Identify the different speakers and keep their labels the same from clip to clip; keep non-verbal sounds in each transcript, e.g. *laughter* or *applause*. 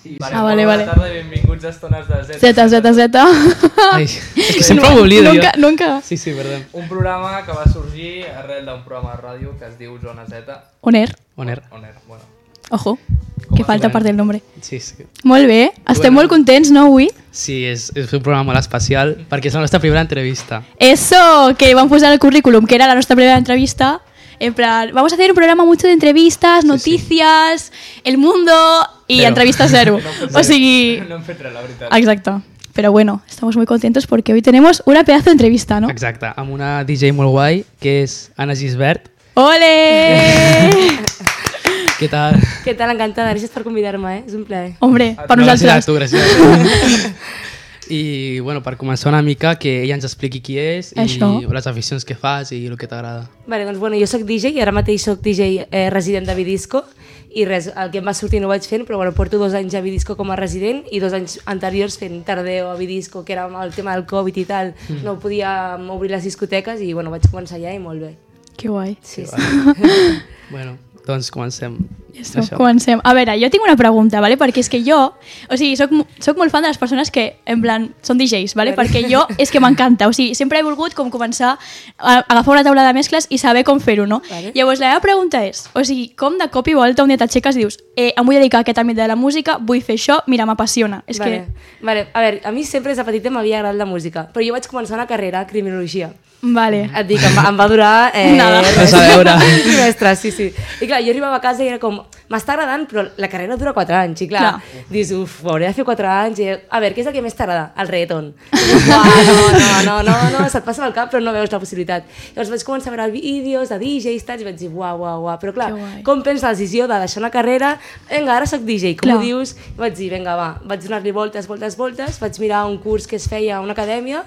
Speaker 1: Sí, vale,
Speaker 2: Ah,
Speaker 1: molt
Speaker 2: vale,
Speaker 1: bona
Speaker 2: vale.
Speaker 1: tarda i benvinguts a Estones de Z.
Speaker 2: Z, Z, Z. *laughs*
Speaker 3: Ai, és que sempre ho oblido
Speaker 2: Nunca,
Speaker 3: jo.
Speaker 2: nunca.
Speaker 3: Sí, sí, perdó.
Speaker 1: Un programa que va sorgir arrel d'un programa de ràdio que es diu Zona Z.
Speaker 2: On air.
Speaker 3: On air.
Speaker 1: On era, bueno.
Speaker 2: Ojo, que falta part del nombre.
Speaker 3: Sí, sí.
Speaker 2: Molt bé, estem molt contents, no, avui?
Speaker 3: Sí, és, és un programa molt especial perquè és la nostra primera entrevista.
Speaker 2: Eso, que van posar en el currículum, que era la nuestra primera entrevista. En plan, vamos a hacer un programa mucho de entrevistas, noticias, el mundo y
Speaker 3: Cero.
Speaker 2: entrevistas cero. o sigui...
Speaker 1: No hem fet res, la veritat.
Speaker 2: Exacto. Pero bueno, estamos muy contentos porque hoy tenemos una pedazo de entrevista, ¿no?
Speaker 3: Exacte, amb una DJ molt guai que és Anna Gisbert.
Speaker 2: ¡Ole!
Speaker 3: Què tal?
Speaker 4: Què tal, encantada? Gràcies per convidar-me, eh? És un plaer.
Speaker 2: Hombre,
Speaker 1: Ah,
Speaker 2: para
Speaker 3: No, gràcies a
Speaker 2: nosotros.
Speaker 3: tu,
Speaker 2: *laughs*
Speaker 3: gràcies a tu. I, bueno, per començar una mica, que ella ens expliqui qui és i
Speaker 2: Això.
Speaker 3: les aficions que fas i el que t'agrada.
Speaker 4: Vale, doncs, bueno, jo sóc DJ i ara mateix sóc DJ eh, resident de Vidisco i res, el que em va sortir no ho vaig fent, però bueno, porto dos anys a Vidisco com a resident i dos anys anteriors fent Tardeo a Vidisco, que era amb el tema del Covid i tal, mm. no podíem obrir les discoteques i bueno, vaig començar allà i molt bé.
Speaker 2: Qué guay.
Speaker 4: Sí, sí.
Speaker 3: Bueno, doncs comencem.
Speaker 2: Eso, comencem. A veure, jo tinc una pregunta, ¿vale? perquè és que jo, o sigui, soc, mo- soc molt fan de les persones que, en plan, són DJs, ¿vale? perquè jo és que m'encanta, o sigui, sempre he volgut com començar a agafar una taula de mescles i saber com fer-ho, no?
Speaker 4: Vale.
Speaker 2: Llavors, la meva pregunta és, o sigui, com de cop i volta un dia t'aixeques i dius, eh, em vull dedicar a aquest àmbit de la música, vull fer això, mira, m'apassiona. És
Speaker 4: vale.
Speaker 2: que...
Speaker 4: Vale, a veure, a mi sempre des de petita m'havia agradat la música, però jo vaig començar una carrera a Criminologia.
Speaker 2: Vale.
Speaker 4: Et dic, em va, em va durar... Eh,
Speaker 2: Nada.
Speaker 3: Res a
Speaker 4: *laughs*
Speaker 3: veure.
Speaker 4: Un trimestre, sí, sí. I clar, jo arribava a casa i era com, m'està agradant, però la carrera dura 4 anys. I clar,
Speaker 2: Clar.
Speaker 4: clar. dius, uf, ho hauré de fer 4 anys. I, a veure, què és el que més t'agrada? El reggaeton. Uah, no, *laughs* no, no, no, no, se't passa pel cap, però no veus la possibilitat. Llavors vaig començar a veure vídeos de DJs, tals, i vaig dir, uau, uau, uau. Però clar,
Speaker 2: Que guai.
Speaker 4: com prens la decisió de deixar una carrera? Vinga, ara sóc DJ, com
Speaker 2: Clar.
Speaker 4: ho dius? I vaig dir, vinga, va. Vaig donar-li voltes, voltes, voltes, vaig mirar un curs que es feia a una acadèmia,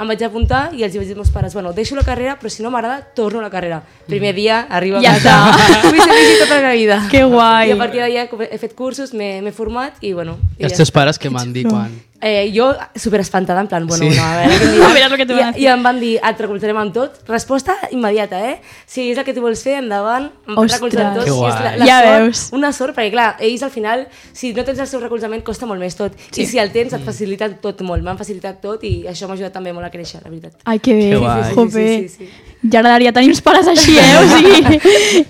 Speaker 4: em vaig apuntar i els hi vaig dir als meus pares, bueno, deixo la carrera, però si no m'agrada, torno a la carrera. Primer dia, arriba
Speaker 2: Ja
Speaker 4: a casa. *laughs*
Speaker 2: està.
Speaker 4: Vull ser DJ tota la meva vida.
Speaker 2: Que guai.
Speaker 4: I a partir d'allà he fet cursos, m'he m'he format i, bueno...
Speaker 3: I els
Speaker 4: ja
Speaker 3: teus
Speaker 4: està.
Speaker 3: pares què m'han dit quan...
Speaker 4: Eh, jo, super espantada, en plan, bueno,
Speaker 3: Sí.
Speaker 4: sí. no, a
Speaker 2: *laughs* A
Speaker 4: veure què em
Speaker 2: veure el que t'ho van
Speaker 4: I, I em van dir, et recolzarem amb tot. Resposta immediata, eh? Si és el que tu vols fer, endavant, em van
Speaker 2: Ostres.
Speaker 4: recolzar amb tot.
Speaker 3: Que
Speaker 4: I és la,
Speaker 3: guai.
Speaker 4: la
Speaker 2: Ja
Speaker 4: sort,
Speaker 2: veus.
Speaker 4: Una sort, perquè clar, ells al final, si no tens el seu recolzament, costa molt més tot. Sí. I si el tens, et facilita tot molt. M'han facilitat tot i això m'ha ajudat també molt a créixer, la veritat.
Speaker 2: Ai, que bé.
Speaker 3: Que guai.
Speaker 2: Jope.
Speaker 4: Sí, sí, sí,
Speaker 2: Ja agradaria tenir uns pares així, eh? O
Speaker 3: *laughs*
Speaker 2: sigui,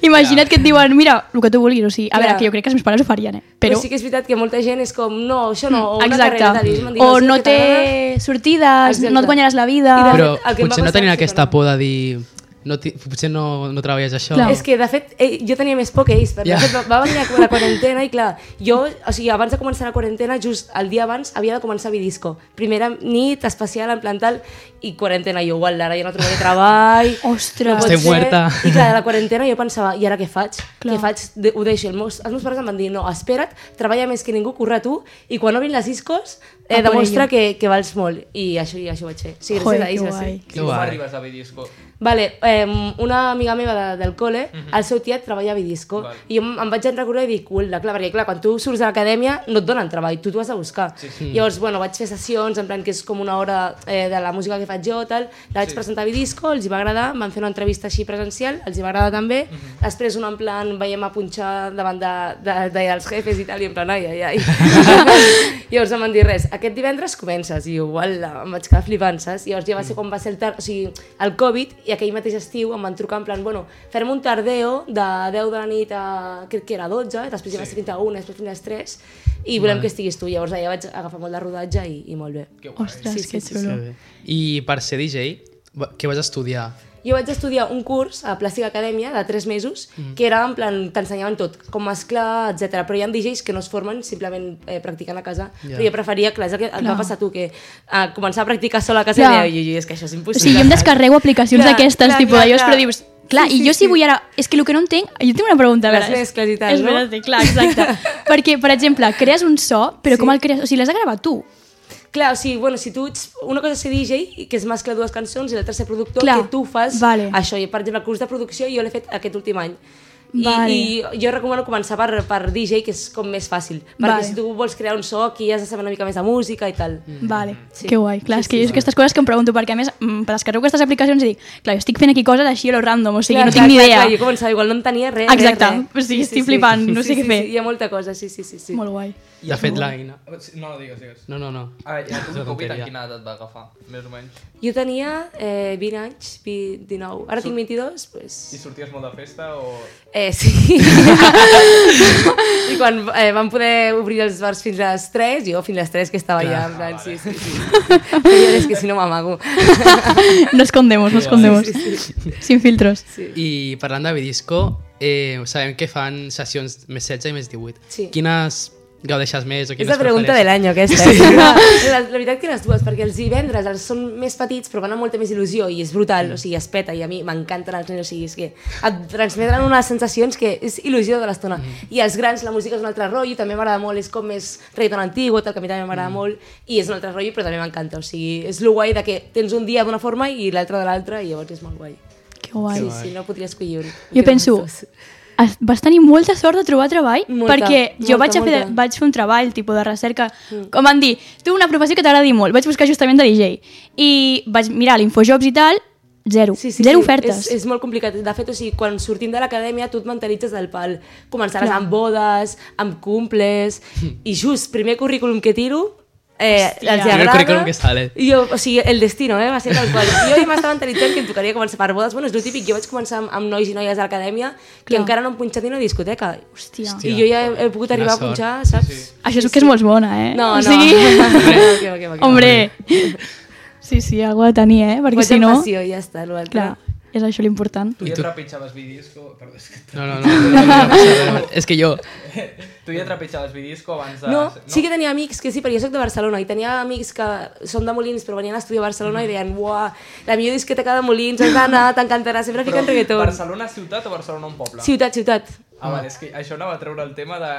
Speaker 2: imagina't que et diuen, mira, el que tu vulguis, o sigui, a veure,
Speaker 4: Clar.
Speaker 2: que jo crec que els meus pares ho farien, eh? Però,
Speaker 4: sí que és veritat que molta gent és com, no, això no, o una
Speaker 2: exacte,
Speaker 4: carrera de dius, m'han dit,
Speaker 2: o
Speaker 4: sé
Speaker 2: no
Speaker 4: què t'agrada".
Speaker 2: té sortides,
Speaker 4: Exacte.
Speaker 2: no et guanyaràs la vida...
Speaker 4: I de-
Speaker 3: Però
Speaker 4: el que em va
Speaker 3: potser no
Speaker 4: passar
Speaker 3: tenien
Speaker 4: sí que
Speaker 3: aquesta
Speaker 4: no.
Speaker 3: por de dir... No, ti- potser no, no treballes això.
Speaker 2: Clar.
Speaker 4: És que, de fet, eh, jo tenia més por que ells, perquè
Speaker 3: Ja.
Speaker 4: yeah. va, va venir la, la quarantena i, clar, jo, o sigui, abans de començar la quarantena, just el dia abans, havia de començar Vidisco. Primera nit, especial, en plan tal, i quarantena, jo, uala, ara ja no trobaré treball...
Speaker 2: *laughs* Ostres.
Speaker 4: pot
Speaker 3: Estem
Speaker 4: ser.
Speaker 3: muerta.
Speaker 4: I, clar, a la quarantena jo pensava, i ara què faig?
Speaker 2: Clar.
Speaker 4: Clar. Què faig? De, ho deixo. Els meus, els meus pares em van dir, no, espera't, treballa més que ningú, corre tu, i quan obrin les discos,
Speaker 2: A
Speaker 4: eh,
Speaker 2: por
Speaker 4: demostra
Speaker 2: ello.
Speaker 4: que, que vals molt. I això, i això ho vaig fer. Sí, gràcies
Speaker 2: Joder,
Speaker 4: a ells
Speaker 2: que
Speaker 4: va ser.
Speaker 2: guai.
Speaker 1: I
Speaker 3: Que
Speaker 1: com
Speaker 3: guai.
Speaker 1: arribes a Vidisco?
Speaker 4: Vale, eh, una amiga meva de, del col·le,
Speaker 1: Mhm.
Speaker 4: el seu tiet treballa a Vidisco,
Speaker 1: Vale.
Speaker 4: i jo em, em vaig enrecordar i dic, uala, clar, perquè clar, quan tu surts de l'acadèmia no et donen treball, tu t'ho has de buscar.
Speaker 1: Sí,
Speaker 4: Llavors, bueno, vaig fer sessions, en plan que és com una hora eh, de la música que faig jo, tal, la vaig
Speaker 1: Sí.
Speaker 4: presentar a Vidisco, els hi va agradar, em van fer una entrevista així presencial, els hi va agradar també,
Speaker 1: Mhm.
Speaker 4: després una en plan, veiem a punxar davant de, de, de, dels jefes i tal, i en plan, ai, ai, ai. *laughs* Llavors em van dir res, aquest divendres comences, i jo, uala, em vaig quedar flipant, saps? Llavors ja va ser quan va ser el, tar... o sigui, el Covid, i aquell mateix estiu em van trucar en plan, bueno, farem un tardeo de 10 de la nit a, crec que era 12, després ja va ser fins a 1, després fins a les 3, i volem que estiguis tu. Llavors allà vaig agafar molt de rodatge i, i molt bé.
Speaker 1: Que guai.
Speaker 2: Ostres,
Speaker 4: Sí, sí,
Speaker 2: que
Speaker 4: sí,
Speaker 2: xulo.
Speaker 3: Que bé. I per ser DJ, va- què vas estudiar?
Speaker 4: Jo vaig estudiar un curs a Plàstica Acadèmia de 3 mesos, mm. que era en plan, t'ensenyaven tot, com mesclar, etc. Però hi ha DJs que no es formen simplement eh, practicant a casa.
Speaker 3: Ja.
Speaker 4: Yeah. Però jo preferia, clar, és el que et
Speaker 2: Clar.
Speaker 4: va passar a tu, que eh, començar a practicar sola a casa
Speaker 2: Clar.
Speaker 4: yeah. i deia, "Ui, ui, és que això és
Speaker 2: O
Speaker 4: impossible.
Speaker 2: sigui, jo em
Speaker 4: saps?"
Speaker 2: descarrego aplicacions
Speaker 4: Clar,
Speaker 2: d'aquestes,
Speaker 4: clar,
Speaker 2: tipus
Speaker 4: clar,
Speaker 2: d'allòs,
Speaker 4: clar.
Speaker 2: però dius, clar,
Speaker 4: Sí,
Speaker 2: i jo
Speaker 4: sí,
Speaker 2: si
Speaker 4: sí.
Speaker 2: vull ara... És que el que no entenc... Jo tinc una pregunta, a
Speaker 4: Les
Speaker 2: veure. és-
Speaker 4: mescles i tal, no?
Speaker 2: Espera't, clar, exacte.
Speaker 4: *laughs*
Speaker 2: Perquè, per exemple, crees un so, però
Speaker 4: Sí.
Speaker 2: com el crees? O sigui, l'has de gravar tu.
Speaker 4: Clar, o sigui, bueno, si tu ets... Una cosa és ser DJ, que és mesclar dues cançons, i l'altra ser productor,
Speaker 2: Clar.
Speaker 4: que tu fas
Speaker 2: Vale.
Speaker 4: això. I, per exemple, el curs de producció jo l'he fet aquest últim any. I,
Speaker 2: Vale.
Speaker 4: I jo recomano començar per, per DJ, que és com més fàcil. Perquè
Speaker 2: Vale.
Speaker 4: si tu vols crear un so, aquí has de saber una mica més de música i tal. Mm.
Speaker 2: Vale, sí.
Speaker 4: Sí.
Speaker 2: que guai. Clar,
Speaker 4: Sí,
Speaker 2: és que
Speaker 4: sí,
Speaker 2: jo és
Speaker 4: sí.
Speaker 2: aquestes coses que em pregunto, perquè a més, mm, per descarrego aquestes aplicacions i dic, clar, jo estic fent aquí coses així a lo random, o sigui, no tinc ni idea.
Speaker 4: Clar, jo començava igual, no en tenia res.
Speaker 2: Exacte.
Speaker 4: res, res.
Speaker 2: O sigui, estic flipant, no sé
Speaker 4: sí,
Speaker 2: què fer.
Speaker 4: Sí, hi ha molta cosa, sí, sí, sí. sí.
Speaker 2: Molt guai. *laughs*
Speaker 3: De fet, l'Aina.
Speaker 1: No, digues, digues.
Speaker 3: No, no, no.
Speaker 1: A veure, ja tu
Speaker 3: És una
Speaker 1: el Covid a
Speaker 3: tonteria.
Speaker 1: quina edat et va agafar, més o menys?
Speaker 4: Jo tenia eh, 20 anys, 20, 19. Ara tinc 22, pues...
Speaker 1: I sorties molt de festa o...
Speaker 4: Eh,
Speaker 2: *laughs*
Speaker 4: sí. I quan eh, vam poder obrir els bars fins a les 3, jo fins a les 3 que estava
Speaker 3: Clar.
Speaker 4: allà, en
Speaker 1: Ah,
Speaker 4: plan, sí,
Speaker 1: vale.
Speaker 4: sí, sí. Señores, que si no m'amago.
Speaker 2: No escondemos, no escondemos. Sin filtros.
Speaker 3: I parlant de Vidisco, eh, sabem que fan sessions més 16 i més 18.
Speaker 4: Sí.
Speaker 3: Quines gaudeixes més? O
Speaker 4: És
Speaker 3: quines
Speaker 4: la pregunta de
Speaker 3: prefereixes?
Speaker 4: l'any, aquesta. Sí. La, la, la veritat que les dues, perquè els divendres els són més petits, però van amb molta més il·lusió i és brutal, o sigui, es peta, i a mi m'encanten els nens, o sigui, és que et transmetran unes sensacions que és il·lusió de l'estona. Mm. I els grans, la música és un altre rotllo, també m'agrada molt, és com més reggaeton antiguo, tal, que a mi també m'agrada mm. molt, i és un altre rotllo, però també m'encanta, o sigui, és lo guai de que tens un dia d'una forma i l'altre de l'altra, i llavors és molt guai.
Speaker 2: Que guai.
Speaker 4: Sí, sí, no podria escollir un.
Speaker 2: Jo penso, es- vas tenir molta sort de trobar treball
Speaker 4: Molta,
Speaker 2: perquè jo
Speaker 4: molta,
Speaker 2: vaig, a fer,
Speaker 4: molta. Mm.
Speaker 2: vaig fer un treball tipus de recerca, com van dir, tu una professió que t'agradi molt, vaig buscar justament de DJ i vaig mirar l'infojobs i tal, zero,
Speaker 4: Sí, sí,
Speaker 2: zero
Speaker 4: sí.
Speaker 2: ofertes.
Speaker 4: És, és molt complicat. De fet, o sigui, quan sortim de l'acadèmia tu et mentalitzes del pal. Començaràs amb bodes, amb cumples, i just primer currículum que tiro, eh,
Speaker 2: Hòstia.
Speaker 4: els
Speaker 2: Primer
Speaker 4: agrada.
Speaker 3: currículum que sale.
Speaker 4: I jo, o sigui, el destino, eh, va ser tal qual. Jo ja m'estava mentalitzant que em tocaria començar per bodes. Bueno, és lo típic, jo vaig començar amb, amb nois i noies de l'acadèmia que
Speaker 2: Clar.
Speaker 4: encara no han punxat ni una discoteca.
Speaker 2: Hòstia.
Speaker 4: I jo ja he, he pogut
Speaker 3: Quina
Speaker 4: arribar a
Speaker 3: sort.
Speaker 4: punxar, saps? Sí,
Speaker 2: Això és que és molt bona, eh?
Speaker 4: No,
Speaker 2: o
Speaker 4: no. *laughs*
Speaker 2: sigui... *laughs*
Speaker 4: Que va, que va, que va.
Speaker 2: Hombre. Sí, sí, algú ha de tenir, eh? Perquè si no...
Speaker 4: Passió, i ja està, l'altre.
Speaker 2: Clar, és això l'important.
Speaker 1: Tu
Speaker 3: I
Speaker 1: ja
Speaker 3: tu-
Speaker 1: trepitjaves vidisco... Perdó, és que...
Speaker 3: No, no, no. no, no, no,
Speaker 4: *laughs*
Speaker 3: no. És que jo...
Speaker 1: Tu ja trepitjaves vidisco abans de...
Speaker 4: No, sí que tenia amics que sí, perquè jo soc de Barcelona i tenia amics que són de Molins però venien a estudiar a
Speaker 1: Mm.
Speaker 4: Barcelona i deien uah, la millor discoteca de Molins,
Speaker 1: *laughs*
Speaker 4: has d'anar, t'encantarà, sempre
Speaker 1: Però
Speaker 4: fiquen reggaeton.
Speaker 1: Barcelona ciutat o Barcelona un poble?
Speaker 4: Ciutat, ciutat.
Speaker 1: Ah, vale, és que això anava a treure el tema de...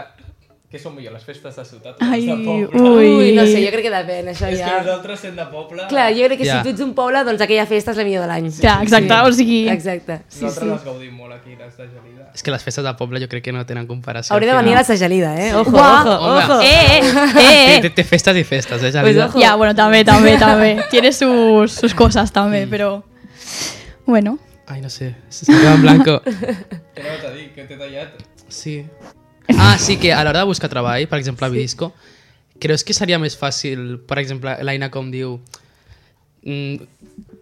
Speaker 1: Què són millor, les festes de ciutat o les
Speaker 2: Ai,
Speaker 1: de poble?
Speaker 2: ui.
Speaker 4: Ui, no sé, jo crec que depèn, això
Speaker 1: És que
Speaker 4: ja.
Speaker 1: nosaltres sent de poble...
Speaker 4: Clar, jo crec que
Speaker 3: Ja.
Speaker 4: si tu ets d'un poble, doncs aquella festa és la millor de l'any.
Speaker 2: Clar, exacte, o sigui...
Speaker 4: Exacte, sí,
Speaker 1: Nosaltres
Speaker 4: sí.
Speaker 1: les gaudim molt aquí, les de Gelida.
Speaker 3: És que les festes de poble jo crec que no tenen comparació.
Speaker 4: Hauré de
Speaker 3: al
Speaker 4: venir a la
Speaker 3: final.
Speaker 4: segelida, eh? Ojo,
Speaker 2: Guau,
Speaker 4: ojo,
Speaker 3: home.
Speaker 4: ojo.
Speaker 2: Eh, eh, eh,
Speaker 4: *laughs*
Speaker 3: Té,
Speaker 2: eh.
Speaker 3: té, té festes i festes, eh,
Speaker 4: Pues
Speaker 3: Jalida?
Speaker 4: ojo.
Speaker 2: Ya, bueno, también, también, también. *laughs* Tiene sus, sus cosas también, pero... Bueno.
Speaker 3: Ai, no sé. Se queda en
Speaker 4: *laughs*
Speaker 3: blanco.
Speaker 1: Què no t'ha dit? Que t'he tallat?
Speaker 3: Sí. Ah, sí, que a l'hora de buscar treball, per exemple, a Vidisco, creus que seria més fàcil, per exemple, l'Aina com diu, mm,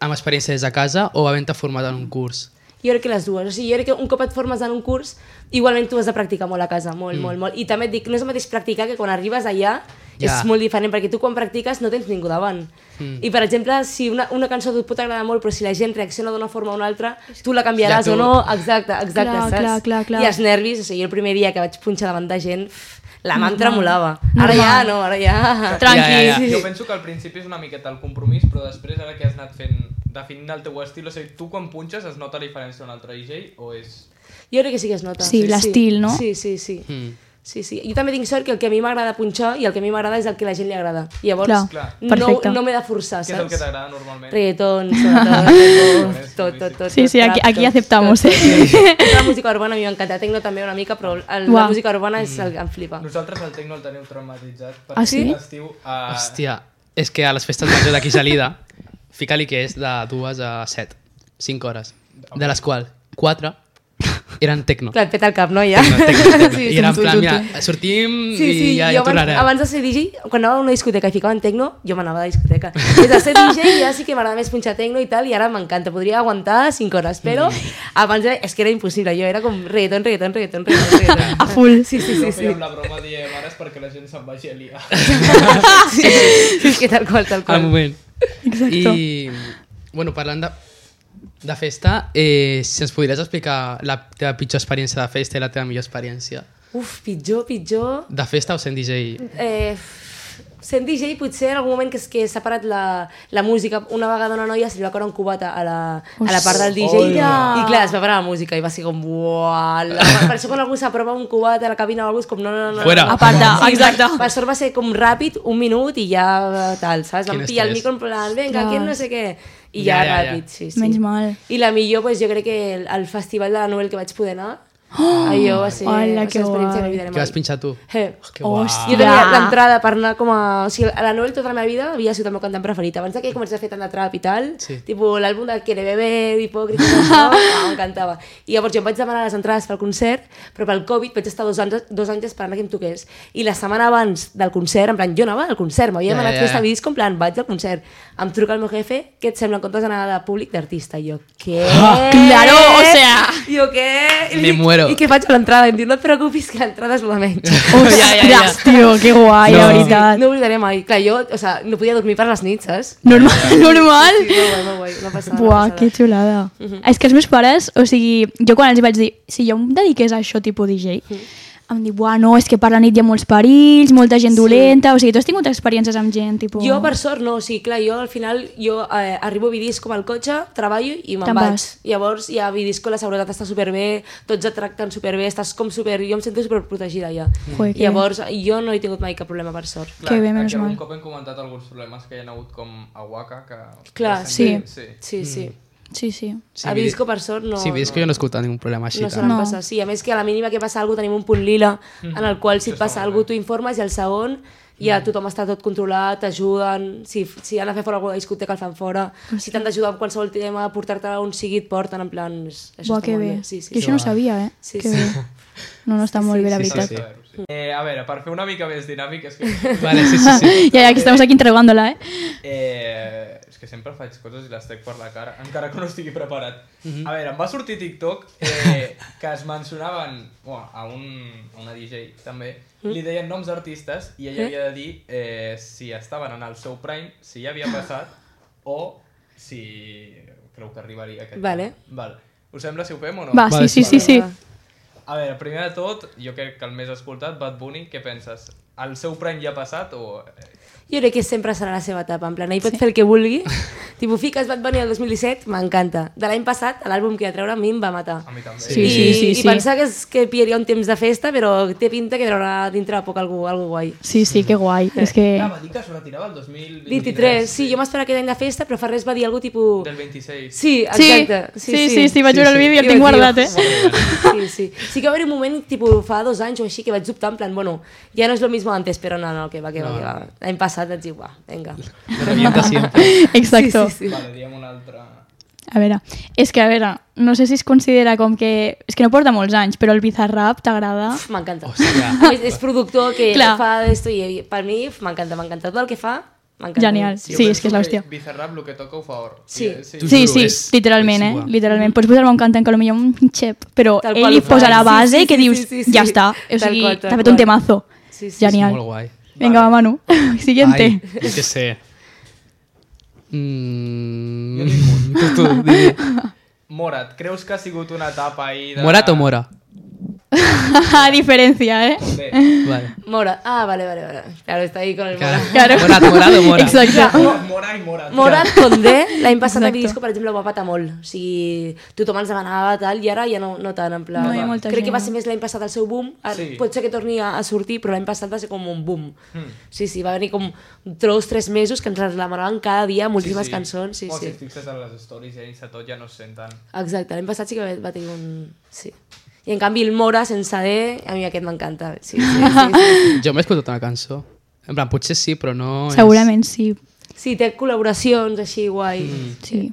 Speaker 3: amb experiències de casa o havent-te format en un curs?
Speaker 4: Jo crec que les dues. O sigui, jo crec que un cop et formes en un curs, igualment tu has de practicar molt a casa, molt, mm. molt, molt. I també et dic, no és el mateix practicar que quan arribes allà
Speaker 3: Ja.
Speaker 4: és molt diferent, perquè tu quan practiques no tens ningú davant. Mm. I, per exemple, si una, una cançó et pot agradar molt, però si la gent reacciona d'una forma o una altra, tu la canviaràs
Speaker 3: Ja tu-
Speaker 4: o no, exacte, exacte,
Speaker 2: Clar,
Speaker 4: saps?
Speaker 2: clar, clar, clar.
Speaker 4: I els nervis, o sigui, jo el primer dia que vaig punxar davant de gent, la mà em tremolava. Ara ja
Speaker 2: Normal.
Speaker 4: no, ara ja...
Speaker 2: Tranqui.
Speaker 3: Ja, ja, ja.
Speaker 1: Jo penso que al principi és una miqueta el compromís, però després, ara que has anat fent, definint el teu estil, o sigui, tu quan punxes es nota la diferència d'un altre DJ o és...
Speaker 4: Jo crec que sí que es nota.
Speaker 2: Sí, l'estil, no?
Speaker 4: Sí, sí, sí.
Speaker 3: Mm.
Speaker 4: Sí, sí. Jo també tinc sort que el que a mi m'agrada punxar i el que a mi m'agrada és el que a la gent li agrada. Llavors,
Speaker 2: Clar,
Speaker 1: Clar.
Speaker 4: no,
Speaker 2: perfecte.
Speaker 4: no m'he de forçar,
Speaker 1: Què és el que
Speaker 4: Ah, saps?
Speaker 1: t'agrada normalment?
Speaker 2: *laughs*
Speaker 4: Reggaeton, sobretot, tot, tot, tot.
Speaker 2: Sí,
Speaker 4: tot,
Speaker 2: sí, aquí,
Speaker 4: trap,
Speaker 2: aquí
Speaker 4: tot,
Speaker 2: aceptamos,
Speaker 4: tot.
Speaker 2: eh.
Speaker 4: *laughs* La música urbana a mi m'encanta, la tecno també una mica, però el, la
Speaker 2: Uau.
Speaker 4: música urbana és el que em flipa.
Speaker 1: Nosaltres el tecno el teniu traumatitzat perquè
Speaker 2: Ah, sí?
Speaker 1: l'estiu... Uh,
Speaker 3: Hòstia, és que a les festes majors d'aquí Gelida, fica-li que és de dues a set, cinc hores, de les quals quatre eren tecno.
Speaker 4: Clar, et peta el cap, no, ja?
Speaker 3: No, tecno, tecno.
Speaker 4: Sí,
Speaker 3: I era en
Speaker 4: sens
Speaker 3: plan,
Speaker 4: dubte.
Speaker 3: mira, sortim
Speaker 4: Sí, sí,
Speaker 3: i ja,
Speaker 4: jo
Speaker 3: ja
Speaker 4: abans,
Speaker 3: tornarem.
Speaker 4: abans de ser DJ, quan anava a una discoteca i ficaven tecno, jo m'anava a la discoteca. Des
Speaker 3: *laughs*
Speaker 4: de ser DJ ja sí que m'agrada més punxar tecno i tal, i ara m'encanta, podria aguantar 5 hores, però
Speaker 3: Mm.
Speaker 4: abans era, és que era impossible, jo era com reggaeton, reggaeton, reggaeton, reggaeton, reggaeton.
Speaker 2: A
Speaker 3: *laughs*
Speaker 2: full.
Speaker 4: Sí, sí,
Speaker 1: Jo
Speaker 4: sí, sí.
Speaker 1: fèiem la broma diem ara és perquè la gent se'n vagi a liar.
Speaker 4: *laughs* sí, sí, és que tal qual, tal
Speaker 3: Al
Speaker 4: qual.
Speaker 3: moment.
Speaker 2: Exacto.
Speaker 3: I, bueno, parlant de, de festa, eh, si ens podries explicar la teva pitjor experiència de festa i la teva millor experiència
Speaker 4: Uf, pitjor, pitjor.
Speaker 3: de festa o sent DJ?
Speaker 4: eh, sent DJ potser en algun moment que, es- que s'ha parat la, la música, una vegada una noia se li va caure un cubat a la, a la part del DJ
Speaker 2: Hola.
Speaker 4: i clar, es va parar la música i va ser com uah,
Speaker 2: *laughs*
Speaker 4: la, per això quan algú s'aprova un cubat a la cabina o algú és com no, no, no, no,
Speaker 3: Fuera.
Speaker 4: no.
Speaker 2: Aparta, exacte.
Speaker 4: Per sort va ser com ràpid, un minut i ja eh, tal, saps? Vam
Speaker 3: Quin
Speaker 4: pillar el
Speaker 3: estrès.
Speaker 4: micro en plan, vinga,
Speaker 2: Clar.
Speaker 4: aquest no sé què i
Speaker 3: Ja,
Speaker 4: ja,
Speaker 3: ja, ja.
Speaker 4: ràpid, sí, sí.
Speaker 2: Menys mal. *gasps*
Speaker 4: I la millor, pues, jo crec que el, el festival de la Noel que vaig poder anar Oh, Allò va ser
Speaker 2: Hola, que guai.
Speaker 4: l'experiència que olvidaré
Speaker 3: Que vas
Speaker 4: mai.
Speaker 3: pinxar tu.
Speaker 4: Eh.
Speaker 3: Que guai.
Speaker 4: Jo tenia l'entrada per anar com a... O sigui, a la Noel tota la meva vida havia sigut el meu cantant preferit. Abans de que comencés a fer tant de trap i tal,
Speaker 3: Sí.
Speaker 4: tipo l'àlbum de Quiere Beber, Hipòcrita, això,
Speaker 2: *laughs*
Speaker 4: ah, m'encantava. I llavors jo em vaig demanar les entrades pel concert, però pel Covid vaig estar dos anys, dos anys esperant a que em toqués. I la setmana abans del concert, en plan, jo anava al concert, m'havia
Speaker 3: Ja,
Speaker 4: yeah, anat
Speaker 3: ja,
Speaker 4: yeah. festa
Speaker 3: ja.
Speaker 4: disc, en plan, vaig al concert. Em truca el meu jefe, què et sembla en comptes d'anar de públic d'artista? I jo, què?
Speaker 3: Ah,
Speaker 2: *laughs* claro, o sea.
Speaker 4: I jo, què? I li
Speaker 3: Me
Speaker 4: dic,
Speaker 3: muero.
Speaker 4: I què faig a l'entrada? I em diu, no et preocupis, que l'entrada és la
Speaker 3: *laughs*
Speaker 4: menys.
Speaker 2: Ostres,
Speaker 4: *laughs*
Speaker 3: Ja, ja, ja.
Speaker 2: tio, que guai,
Speaker 3: No.
Speaker 2: la
Speaker 4: Sí,
Speaker 2: veritat.
Speaker 4: no ho oblidaré mai. Clar, jo, o sea, no podia dormir per les nits, saps?
Speaker 2: Normal, *laughs* normal.
Speaker 4: Sí, molt guai, molt guai. Una passada,
Speaker 2: Buah,
Speaker 4: una
Speaker 2: que
Speaker 4: passada.
Speaker 2: xulada.
Speaker 4: Mhm.
Speaker 2: És que els meus pares, o sigui, jo quan els vaig dir, si jo em dediqués a això tipus DJ,
Speaker 4: Mhm.
Speaker 2: em diu, buah, no, és que per la nit hi ha molts perills, molta gent dolenta, o sigui, tu has tingut experiències amb gent, tipus...
Speaker 4: Jo, per sort, no. O sigui, clar, jo al final jo eh, arribo a Vidisco amb el cotxe, treballo i me'n
Speaker 2: Te'n
Speaker 4: vaig.
Speaker 2: vas.
Speaker 4: Llavors, ja a Vidisco la seguretat està superbé, tots et tracten superbé, estàs com super... Jo em sento superprotegida ja.
Speaker 2: Joder, que
Speaker 4: Llavors, jo no he tingut mai cap problema, per sort.
Speaker 1: Clar,
Speaker 2: Que bé,
Speaker 1: aquí
Speaker 2: menys
Speaker 1: algun
Speaker 2: mal.
Speaker 1: cop hem comentat alguns problemes que hi ha hagut com a Waka, que...
Speaker 4: Clar,
Speaker 1: que
Speaker 2: sí.
Speaker 1: sí.
Speaker 4: Sí, sí.
Speaker 2: Sí, sí.
Speaker 3: Mm, Sí,
Speaker 4: a
Speaker 3: vi-
Speaker 4: Vidisco, per sort, no...
Speaker 3: Sí, visc que jo no he escoltat ningú problema així.
Speaker 4: no
Speaker 3: No
Speaker 4: solen
Speaker 2: No.
Speaker 4: passar. Sí, a més que a la mínima que passa alguna cosa tenim un punt lila en el qual si et
Speaker 1: Mm-hmm. Això està
Speaker 4: passa
Speaker 1: molt
Speaker 4: alguna
Speaker 1: bé. Mm.
Speaker 4: cosa tu informes i el segon ja tothom està tot controlat, t'ajuden, si, si han de fer fora alguna discoteca el fan fora,
Speaker 2: Ah,
Speaker 4: si t'han d'ajudar amb qualsevol tema, portar-te on sigui et porten, en plan... és- Això
Speaker 2: Buah,
Speaker 4: està
Speaker 2: que
Speaker 4: molt
Speaker 2: bé.
Speaker 4: Sí, sí,
Speaker 2: jo
Speaker 4: sí.
Speaker 2: això no ho sabia, eh?
Speaker 4: Sí,
Speaker 2: que
Speaker 4: sí.
Speaker 2: bé. No, no, està molt bé, la
Speaker 3: sí, sí,
Speaker 2: veritat.
Speaker 3: sí.
Speaker 1: sí. Eh, a veure, per fer una mica més dinàmic, és que...
Speaker 2: *laughs*
Speaker 3: Vale, sí, sí, sí.
Speaker 2: Ja, ja, que estamos aquí interrogándola, eh?
Speaker 1: Eh, és que sempre faig coses i les trec per la cara, encara que no estigui preparat.
Speaker 2: Mhm.
Speaker 1: A veure, em va sortir TikTok eh, que es mencionaven bueno, a, un, a una DJ també,
Speaker 2: Mhm.
Speaker 1: li deien noms d'artistes i ella havia de dir eh, si estaven en el seu prime, si ja havia passat
Speaker 2: *gasps*
Speaker 1: o si creu que arribaria aquest
Speaker 4: Vale.
Speaker 1: tema. Vale. Us sembla si ho fem o no?
Speaker 2: Va,
Speaker 3: Vale,
Speaker 2: sí, sí,
Speaker 3: sí,
Speaker 2: sí, sí.
Speaker 1: A veure, primer de tot, jo crec que el més escoltat, Bad Bunny, què penses? El seu prime ja ha passat o... eh,
Speaker 4: Jo crec que sempre serà la seva etapa, en plan, ell pot fer el que vulgui. *laughs* tipo, fiques Bad Bunny el 2017, m'encanta. De l'any passat, l'àlbum que va treure a mi em va matar.
Speaker 1: A mi també.
Speaker 2: Sí,
Speaker 4: I,
Speaker 2: sí, sí,
Speaker 4: i
Speaker 2: sí.
Speaker 4: pensar que, és, que pillaria un temps de festa, però té pinta que traurà dintre de poc algú, algú guai.
Speaker 2: Sí, sí, que guai. És que...
Speaker 1: Ah, va dir que es retirava el 2023.
Speaker 4: 23, sí, jo m'esperava aquest any de festa, però fa res va dir alguna tipus...
Speaker 1: Del 26.
Speaker 4: Sí,
Speaker 2: Sí,
Speaker 4: exacte.
Speaker 2: sí, sí, sí, sí, vaig
Speaker 3: Sí,
Speaker 2: veure el
Speaker 3: sí.
Speaker 2: vídeo i el
Speaker 4: Jo
Speaker 2: tinc
Speaker 4: vaig dir,
Speaker 2: guardat, eh?
Speaker 4: Sí, sí. Sí que va haver un moment, tipus, fa dos anys o així, que vaig dubtar, en plan, bueno, ja no és lo mismo antes, però no, no, que va, que va, que va. L'any passat vaig dir, va, vinga.
Speaker 3: Me revienta siempre.
Speaker 2: Exacte.
Speaker 4: Sí, sí, sí.
Speaker 1: Vale, diem una altra...
Speaker 2: A veure, és que a veure, no sé si es considera com que... És que no porta molts anys, però el Bizarrap t'agrada?
Speaker 4: Uf, M'encanta.
Speaker 3: Hòstia.
Speaker 4: A més, És productor que
Speaker 2: Clar.
Speaker 4: fa esto i per mi uf, m'encanta, m'encanta. Tot el que fa, m'encanta.
Speaker 2: Genial.
Speaker 4: Sí.
Speaker 2: Sí,
Speaker 1: Jo
Speaker 2: és que és
Speaker 1: penso
Speaker 2: l'hòstia.
Speaker 1: Bizarrap, el que toca ho fa or.
Speaker 4: Sí.
Speaker 1: sí.
Speaker 3: Tu-
Speaker 2: Sí,
Speaker 3: juro,
Speaker 2: sí,
Speaker 3: és-
Speaker 2: literalment,
Speaker 3: és
Speaker 2: eh?
Speaker 3: guau.
Speaker 2: Literalment. Pots posar-me un cantant que potser un xep, però
Speaker 4: Tal qual
Speaker 2: ell hi
Speaker 4: ho fa.
Speaker 2: posa la
Speaker 4: Sí,
Speaker 2: base
Speaker 4: sí,
Speaker 2: que
Speaker 4: sí,
Speaker 2: dius,
Speaker 4: sí, sí,
Speaker 2: ja
Speaker 4: sí.
Speaker 2: està. O
Speaker 4: Tal
Speaker 2: sigui,
Speaker 4: qual, tal
Speaker 2: t'ha fet un
Speaker 4: qual.
Speaker 2: temazo.
Speaker 4: Sí,
Speaker 3: És
Speaker 4: sí,
Speaker 2: Genial.
Speaker 3: molt guai.
Speaker 2: Vinga, va, Manu. *laughs* Siguiente.
Speaker 3: Ai, es que sé. Mm...
Speaker 1: Jo tinc un.
Speaker 3: Tu, tu, di-
Speaker 1: *laughs* Morat, creus que ha sigut una etapa ahir de...
Speaker 3: Morat o Mora?
Speaker 2: *laughs* A diferència, eh?
Speaker 1: Bé,
Speaker 3: Vale.
Speaker 4: Mora. Ah, vale, vale, vale. Claro, está ahí con el Mora.
Speaker 2: Claro.
Speaker 3: Morat, Morat o Mora?
Speaker 1: *laughs*
Speaker 2: Exacte.
Speaker 1: Mo- Mora i Morat.
Speaker 4: Morat Condé, l'any passat a
Speaker 2: Exacte.
Speaker 4: Vidisco, per exemple, ho va patar molt. O sigui, tothom ens demanava tal, i ara ja no, no tant, en plan...
Speaker 2: No hi ha molta
Speaker 4: Crec
Speaker 2: gent.
Speaker 4: que va ser més l'any passat el seu boom, Ara
Speaker 1: Sí.
Speaker 4: pot ser que torni a, a sortir, però l'any passat va ser com un boom. Sí, sí, va venir com dos, tres mesos que ens les demanaven cada dia, moltíssimes cançons, sí, Oh,
Speaker 1: o si
Speaker 4: sí.
Speaker 1: et fixes en les stories i a Insta tot ja no se sent tant.
Speaker 4: Exacte, l'any passat sí que va, va tenir un... Sí. I en canvi el Mora, sense D, a mi aquest m'encanta. Sí, sí, sí,
Speaker 2: *laughs*
Speaker 4: sí.
Speaker 3: Jo m'he escoltat una cançó. En plan, potser sí, però no... és-
Speaker 2: Segurament sí.
Speaker 4: sí, té col·laboracions així guai.
Speaker 2: Sí.